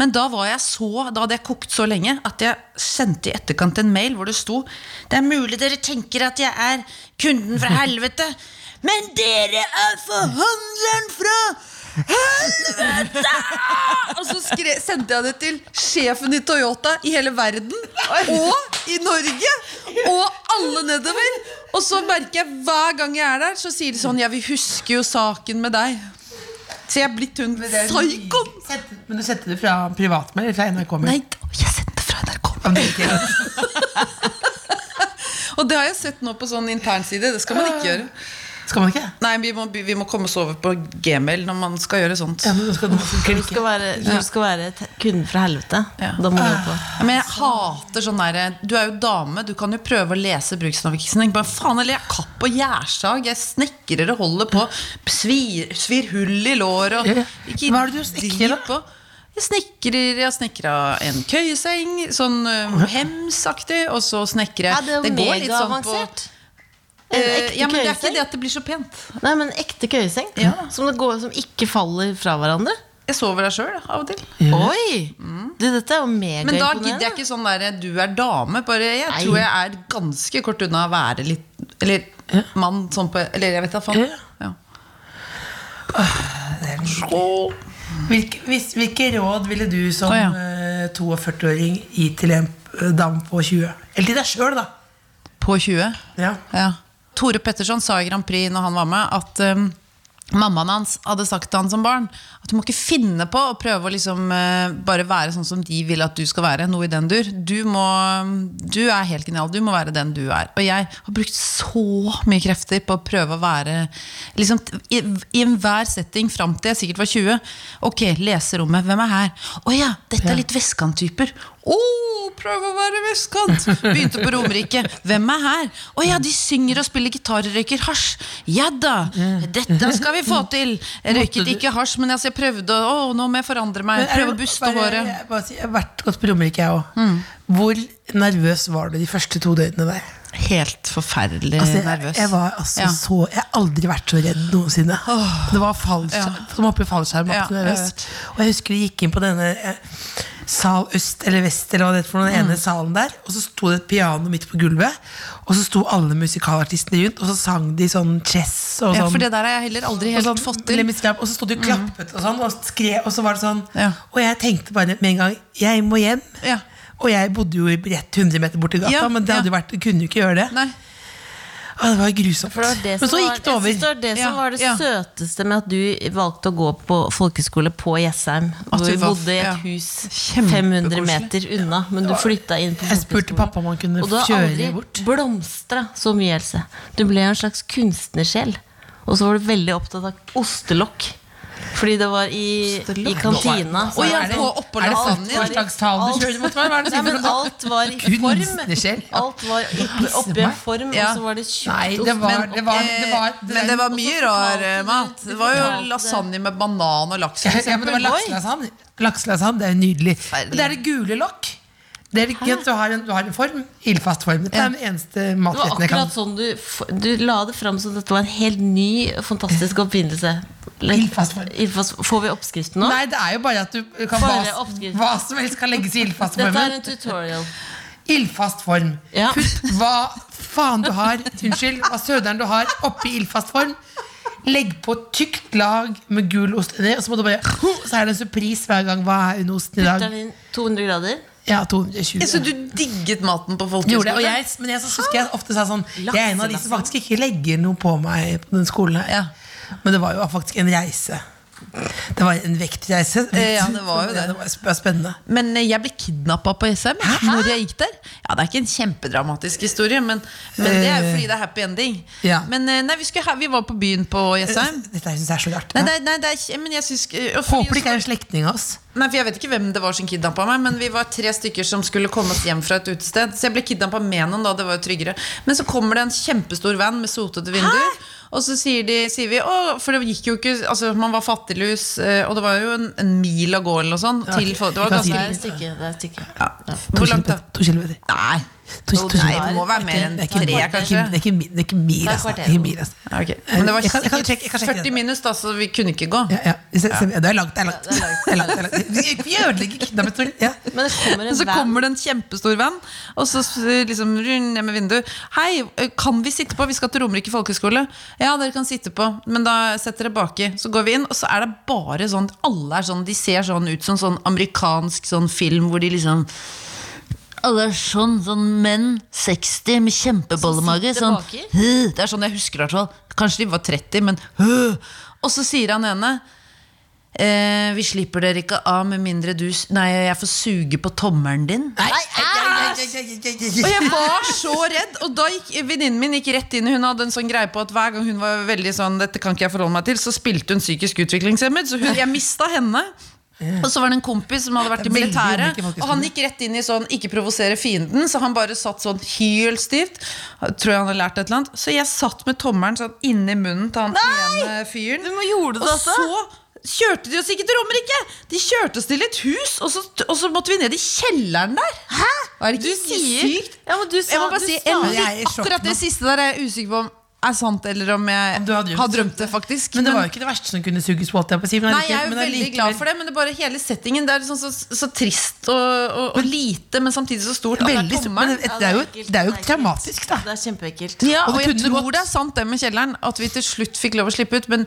F: Men da var jeg så, da hadde jeg kokt så lenge at jeg sendte i etterkant en mail hvor det sto
E: Det er mulig dere tenker at jeg er kunden fra helvete, men dere er forhandleren fra
F: Og så skre, sendte jeg det til sjefen i Toyota i hele verden. Og i Norge. Og alle nedover. Og så merker jeg hver gang jeg er der, så sier de sånn Ja, vi husker jo saken med deg. Så jeg er blitt hun psykoen.
C: Sendte- Men du sendte det fra privatmail eller fra NRK-mail?
F: Nei, jeg sendte det fra NRK. Og det har jeg sett nå på sånn internside. Det skal man ikke gjøre.
C: Skal man ikke?
F: Nei, vi må, vi må komme oss over på gmail når man skal gjøre sånt.
C: Ja, men nå skal du også
D: Du skal
C: klikke.
D: være, du skal være te- kunden fra helvete. Da må du på.
F: Ja, Men jeg hater sånn der Du er jo dame, du kan jo prøve å lese bruksanvisning. Bare faen, eller jeg er kapp og gjærsag, jeg snekrer og holder på. Svir, svir hull i låret og
C: Ja, ja. Hva er det du snekrer, da?
F: drit på. Jeg snekrer, jeg snekra en køyeseng, sånn eh, hemsaktig, og så snekrer jeg
D: Ja, det er jo
F: sånn
D: megaavansert. En
F: eh,
D: ekte
F: Ja, men det er ikke
D: køyeseng.
F: det at det blir så pent.
D: Nei, men en ekte køyeseng. Som, det går, som ikke faller fra hverandre.
F: Jeg sover der sjøl av og til.
D: Oi! Du, dette er jo
F: Mm. Men da
D: megaimponerende.
F: gidder jeg ikke sånn der Du er dame, bare jeg
D: Nei.
F: tror jeg er ganske kort unna å være litt Eller mann sånn på Eller jeg vet da faen
C: Ja.
F: ja.
C: Hvilke, hvis, hvilke råd ville du som
F: Å, ja.
C: eh, 42-åring gi til en eh, dame på 20? Eller til deg sjøl, da.
F: På 20
C: Ja.
F: ja. Tore Petterson sa i Grand Prix når han var med At um, Mammaen hans hadde sagt til han som barn at du må ikke finne på å prøve å liksom eh, bare være sånn som de vil at du skal være. Noe i den dur. Du, må, du er helt genial. Du må være den du er. Og jeg har brukt så mye krefter på å prøve å være liksom, i, i enhver setting fram til jeg sikkert var 20. Ok, leserommet. Hvem er her? Å ja, dette er litt vestkanttyper. Å, prøv å være vestkant! Begynte på Romerike. Hvem er her? Å ja, de synger og spiller gitar og røyker hasj. Ja da! Dette skal vi få til! Jeg røyket ikke hasj, men altså, jeg prøvde. Å, nå må jeg forandre meg. Prøve å buste
C: Bare-
F: håret.
C: Jeg, bare sier, jeg har vært godt på Romerike, jeg òg.
F: Mm.
C: Hvor nervøs var du de første to døgnene der?
F: Helt forferdelig
C: Altså, jeg,
F: nervøs.
C: jeg var altså
F: Ja.
C: så Jeg har aldri vært så redd noensinne. Det var fallskjerm.
F: Ja.
C: Som oppe i fallskjerm.
F: Ja,
C: var ikke
F: jeg
C: nervøs. og jeg husker de gikk inn på denne eh, sal øst eller vest, eller hva det heter for noe, den
F: Mm.
C: ene salen der. Og så sto det et piano midt på gulvet, og så sto alle musikalartistene rundt, og så sang de sånn chess og
F: Ja,
C: sånn.
F: for det der har jeg heller aldri helt
C: og, sånn,
F: fått til. Mm.
C: Lemmy Skrap, og så sto de og klappet og sånn, og skrev, og så var det sånn.
F: Ja.
C: Og jeg tenkte bare med en gang Jeg må hjem.
F: Ja.
C: Og jeg bodde jo rett 100 meter borti gata,
F: Ja,
C: men det hadde
F: ja.
C: jo vært, kunne jo ikke gjøre det.
F: Nei.
C: Å, det var grusomt.
D: For det var det som
C: Men så
D: var-
C: gikk det
D: Jeg synes det var
C: over.
D: det
F: Ja,
D: som var det
F: ja.
D: søteste med at du valgte å gå på folkeskole på Jessheim.
F: At
D: Hvor
F: du
D: vi
F: var-
D: bodde i et
F: ja.
D: hus
F: Kjempekoselig.
D: 500 meter unna, men du flytta inn på
C: Jeg spurte
D: folkehøyskolen.
C: pappa om han kunne
D: Og du har
C: kjøre
D: aldri
C: bort.
D: blomstra så mye, Else. Du ble en slags kunstnersjel. Og så var du veldig opptatt av ostelokk. Fordi det var i, i kantina. så
F: Å ja,
D: er det-
F: på oppholdet
D: alt
F: sanden
D: var i-
F: din.
C: Bursdagstalen du kjører mot meg, hva er det
D: Nei,
C: sånn du sier for
D: men
C: noe?
D: alt var i
C: Kunstnersjel,
D: form. Alt var oppe, oppe i en form,
F: Ja.
D: og så var det tjukt
C: Nei, det var,
D: ost-
C: det var, det var,
F: Eh, Men det var mye
D: fortalte
F: rar
D: du-
F: eh, mat. Det var jo
D: fortalte-
F: lasagne med banan og laks. for
C: ja, men det var
F: eksempel.
C: lakselasagne. Lakselasagne, det er jo nydelig.
F: Forferdelig.
C: Men det er det gule lokk. Det er ikke at du har en, du har en form, ildfast form. Det er den eneste
D: Det var
C: matretten
D: akkurat
C: jeg kan.
D: sånn du, f- du la det fram som dette var en helt ny, fantastisk oppfinnelse. Like,
C: Ildfast form.
D: ildfast- Får vi oppskriften nå?
C: Nei, det er jo bare at du kan
D: Bare
C: hva,
D: oppskrift.
C: hva som helst kan legges i ildfast
D: Dette er
C: form.
D: en tutorial.
C: Ildfast form.
D: Ja.
C: Putt hva faen du har, unnskyld, hva søderen du har, oppi ildfast form. Legg på et tykt lag med gul ost inni, og så må du bare Så er det en surprise hver gang. Hva er under osten i
D: Putter
C: dag?
D: den inn 200 grader.
C: Ja, 220.
F: Så du digget maten på
C: Gjorde det,
F: folkehøyskolen?
C: og jeg, men jeg så husker jeg ofte sa sånn Jeg er en av de som faktisk ikke legger noe på meg på den skolen her. Men det var jo faktisk en reise. Det var en vektreise.
F: Eh, ja, det var jo det.
C: var sp- spennende.
F: Men eh, jeg ble kidnappa på SM når jeg gikk der. Ja, Det er ikke en kjempedramatisk historie, men, men det er jo fordi det er happy ending.
C: Eh. ja. Eh,
F: Men eh, nei, vi, skulle, ha- vi var på byen på Jessheim.
C: Dette syns jeg er så rart.
F: Nei, nei, nei, det er, ikke- men jeg synes, eh, og fordi-
C: Håper det ikke er en slektning av oss.
F: Nei, for Jeg vet ikke hvem det var som kidnappa meg, men vi var tre stykker som skulle komme oss hjem fra et utested. Så jeg ble kidnappa med noen, da. Det var jo tryggere. Men så kommer det en kjempestor van med sotete vinduer. Og så sier, de, sier vi å, For det gikk jo ikke Altså, man var fattiglus, eh, og det var jo en, en mil av gården eller noe sånt. Til,
C: ok.
F: folk- det
C: Vi
F: var
C: kan si
D: Det
F: ganske
D: er et stykke. Det er et stykke.
F: ja.
C: To
F: Hvor langt, da?
C: kilometer. To kilometer.
F: Nei.
C: To- to
F: Nei,
C: kilometer.
F: det må være mer enn
C: Det er ikke-
F: tre,
C: det er ikke-
F: kanskje.
C: Det er ikke mil, det er ikke mil, altså. Det er ikke mil, altså.
F: Ja, ok. Men det var
C: Jeg kan- jeg kan sjekke- jeg kan sjekke det.
F: 40 minus, da, så vi kunne ikke gå.
C: Ja, ja. Se- se- ja, Det er langt, det er langt. Det er langt, det er langt. Vi- Vi ødelegger kidnappet. Ja.
D: Men det kommer en
F: Så
D: van.
F: kommer det en kjempestor venn, og så s- liksom runder jeg med vinduet. 'Hei, ø, kan vi sitte på? Vi skal til Romerike folkehøgskole.' 'Ja, dere kan sitte på, men da setter dere baki.' Så går vi inn, og så er det bare sånn Alle er sånn, de ser sånn ut som sånn amerikansk sånn film hvor de liksom
E: Alle er sånn, sånn menn 60 med kjempebollemage. Sånn,
D: Som sitter baki?
E: «Hø!»
F: Det er sånn jeg husker det i hvert fall. Kanskje de var 30, men «Hø!» Og så sier han ene eh, Vi slipper dere ikke av med mindre du s- Nei, jeg får suge på tommelen din.
C: Nei, nei, nei, nei, nei, nei, nei,
F: Og
C: nei.
F: jeg var så redd. Og da gikk venninnen min gikk rett inn. Hun hadde en sånn greie på at hver gang hun var veldig sånn Dette kan ikke jeg forholde meg til, så spilte hun psykisk utviklingshemmet. Så hun, jeg mista henne. Og så var det en kompis som hadde vært i
C: Veldig
F: militæret.
C: ulike folkeskoler.
F: Og han gikk rett inn i sånn 'ikke provosere fienden', så han bare satt sånn helt stivt. Tror jeg han har lært et eller annet. Så jeg satt med tommelen sånn inni munnen til han ene fyren. og så kjørte de oss ikke til Romerike! De kjørte oss til et hus, og så, og så måtte vi ned i kjelleren der. Hæ? Er det ikke sykt?
D: ja, men du sa,
F: Jeg må bare
D: du
F: si
D: sa
F: en-
C: Jeg er i sjokk
F: Akkurat
C: nå.
F: det siste der er jeg usikker på om er sant, eller om jeg
C: Om du har drømt.
F: har drømt det, faktisk.
C: Men det
F: Men-
C: var jo ikke det verste som kunne suges på. holdt Jeg på å si, men
F: Nei, jeg er jo
C: allikevel- men
F: veldig
C: allikevel-
F: glad for det, men det er bare hele settingen. Det er liksom så, så trist og, og, og lite, men samtidig så stort. at det er
C: Veldig,
F: tommelen.
C: men det, det, er jo, det er jo traumatisk, da.
D: Det er kjempeekkelt.
F: Ja,
C: Og
F: og
C: det
F: jeg
C: kunne
F: tror
C: gått-
F: det er sant, det med kjelleren, at vi til slutt fikk lov å slippe ut. Men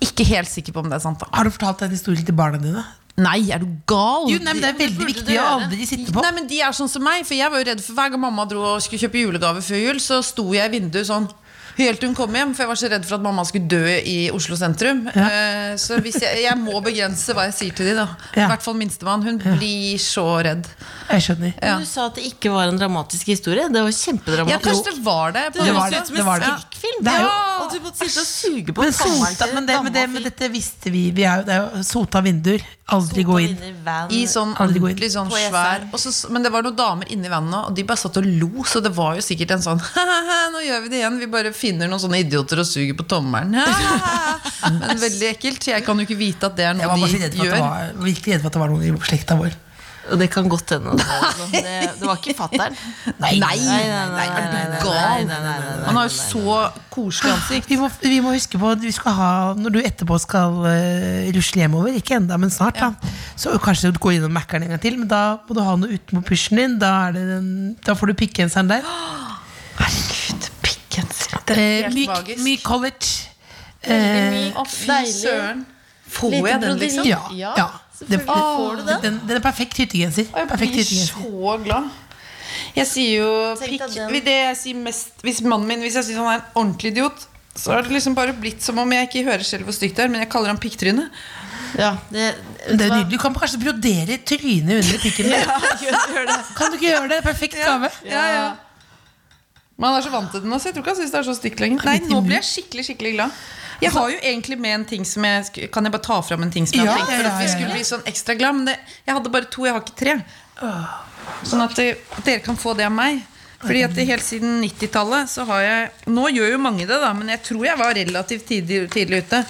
F: ikke helt sikker på om det er sant. da
C: Har du fortalt den historien til barna dine?
F: Nei, er du gal?
C: Jo, nei, men Det er veldig viktig å aldri sitte på.
F: Nei, men De er sånn som meg, for jeg var jo redd for hver gang mamma dro og skulle kjøpe julegave før jul, så sto jeg i vinduet sånn Helt til hun kom hjem, for jeg var så redd for at mamma skulle dø i Oslo sentrum. Eh, Så hvis jeg, jeg må begrense hva jeg sier til de da. I
C: Ja.
F: hvert fall minstemann. Hun blir så redd.
C: Jeg skjønner.
F: Ja.
D: Du sa at det ikke var en dramatisk historie. Det
F: Ja,
D: var kjempedramatisk.
F: kanskje det var det. på
D: Det
F: en
D: høres
F: måte.
D: ut som en
C: det.
D: skrekkfilm.
C: Det er jo-
D: Ja, og du måtte sitte og suge på
C: Men,
D: tommelen
C: sota,
D: til
C: men, det, men, det, men
D: dammefilm.
C: dette visste vi. vi er jo, det er jo sota vinduer. Aldri gå inn.
D: Inn i van.
F: I sånn
C: Aldri gå inn.
F: ordentlig sånn
D: På E ESR.
F: svær og så, Men det var noen damer inni vannet Og de bare satt og lo Så det var jo sikkert en sånn «Hahaha, Nå gjør vi det igjen Vi bare finner noen sånne idioter og suger på tommeren Hahaha. Men veldig ekkelt Jeg kan jo ikke vite at det er
C: Jeg var
F: noe
C: bare så
F: de
C: redd for at det
F: gjør
C: var, virkelig redd for at det var noen i slekta vår.
D: Og det kan godt hende. at det var sånn. Det, det var ikke fatter'n.
C: Nei,
F: Er du
D: nei,
F: gal?
D: nei, nei, nei, nei.
F: Han har jo så koselig ansikt
C: Ah, Vi må, vi må huske på at du skal ha, når du etterpå skal eh, rusle hjemover, ikke enda, men snart, da, så kanskje du går innom Mækkern en gang til, men da må du ha noe utenpå pysjen din. Da, er det den, da får du pikkgenseren der. Eh,
F: Ah, helt
C: myk,
F: magisk.
C: myk college. Eh,
F: Å fy søren Får jeg den liksom?
C: Ja. ja. Det, den, den, den er perfekt hyttegenser.
F: Og jeg
C: Perfekt
F: blir
C: hyttegenser.
F: så glad. Jeg sier jo
G: Tenk
F: pikk
G: deg den.
F: Hvis Det jeg sier mest Hvis mannen min Hvis jeg syns han er en ordentlig idiot, så har det liksom bare blitt som om jeg ikke hører selv hvor stygt det er, men jeg kaller han pikktryne.
D: Ja, det,
C: Det er nydelig. Du kan kanskje brodere trynet under pikken din. Kan du ikke gjøre det? Perfekt gave.
F: Ja, ja. Men han er så vant til den, altså. Jeg tror ikke han syns det er så stygt lenger. Nei, nå blir jeg skikkelig, skikkelig glad. Jeg har jo egentlig med en ting som jeg sk- Kan jeg bare ta fram en ting som jeg har
C: Ja,
F: tenkt for
C: ja,
F: at
C: ja,
F: vi
C: ja.
F: skulle bli sånn ekstra glad? Men det, jeg hadde bare to, jeg har ikke tre. Sånn at eh, dere kan få det av meg. Fordi at det Helt siden 90-tallet så har jeg Nå gjør jo mange det, da, men jeg tror jeg var relativt tidlig, tidlig ute.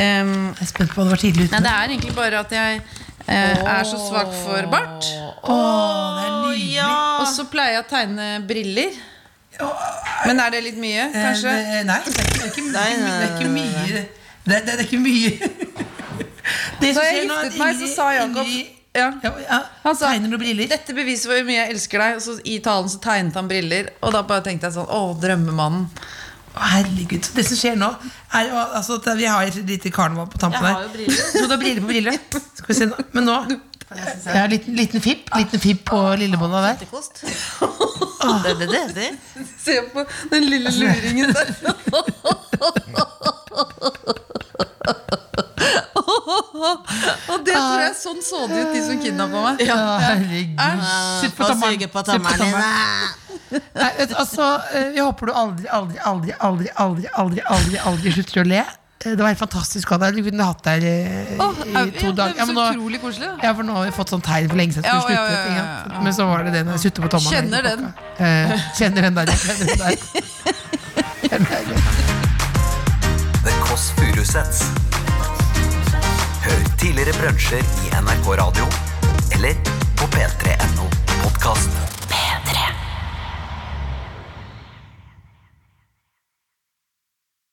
F: Em,
C: Jeg er spent på om det var tidlig
F: nei,
C: ute.
F: det er egentlig bare at jeg eh, er så svak for bart.
C: Åh, det er nydelig.
F: Og så pleier jeg å tegne briller. Men er det litt mye, kanskje?
C: Eh, Nei, det er ikke- det er ikke mye. Det er ikke mye. Det er, det er ikke mye. Det
F: Da jeg
C: som skjer nå er at
F: giftet meg, så
C: Ingrid-
F: sa Jakob
C: Ingrid-
F: ja.
C: ja, ja,
F: Han sa-
C: Tegner noen briller.
F: Altså, Dette beviser hvor mye jeg elsker deg. Og så I talen så tegnet han briller, og da bare tenkte jeg sånn Å, drømmemannen.
C: Å, herregud. Så det som skjer nå, er jo altså, at vi har et lite karneval på tampen her. Så du har briller på briller. Skal vi se nå. Men nå jeg har en liten, liten fipp Liten fipp på lillebånda der.
D: det er det det heter.
F: Se på den lille luringen der. og det tror jeg sånn så det ut, de som kidnappa meg.
C: Å, herregud. Sitt på tommelen.
D: Suge på
C: Sitt på
D: tommelen
C: tommelen.
D: din.
C: Nei, vet, du, altså, eh, jeg håper du aldri, aldri, aldri, aldri, aldri, aldri, aldri, aldri slutter å le. Eh, Det var helt fantastisk å ha deg. Du kunne hatt deg eh,
F: Åh,
C: i to
F: ja,
C: dager.
F: det er
C: Ja, men
F: så
C: nå,
F: utrolig koselig. da.
C: ja, for nå har vi fått sånn tegn for lenge siden. at
F: Ja,
C: du slutter,
F: ja, ja,
C: ikke
F: ja,
C: sant?
F: ja.
C: Men så var det det når jeg sutter på tommelen.
F: Kjenner den.
C: Eh, kjenner den der. jeg Kjenner den der. Kjenner den der.
B: The Kåss Furuseths. Hør tidligere brunsjer i NRK Radio eller på p3.no podkast.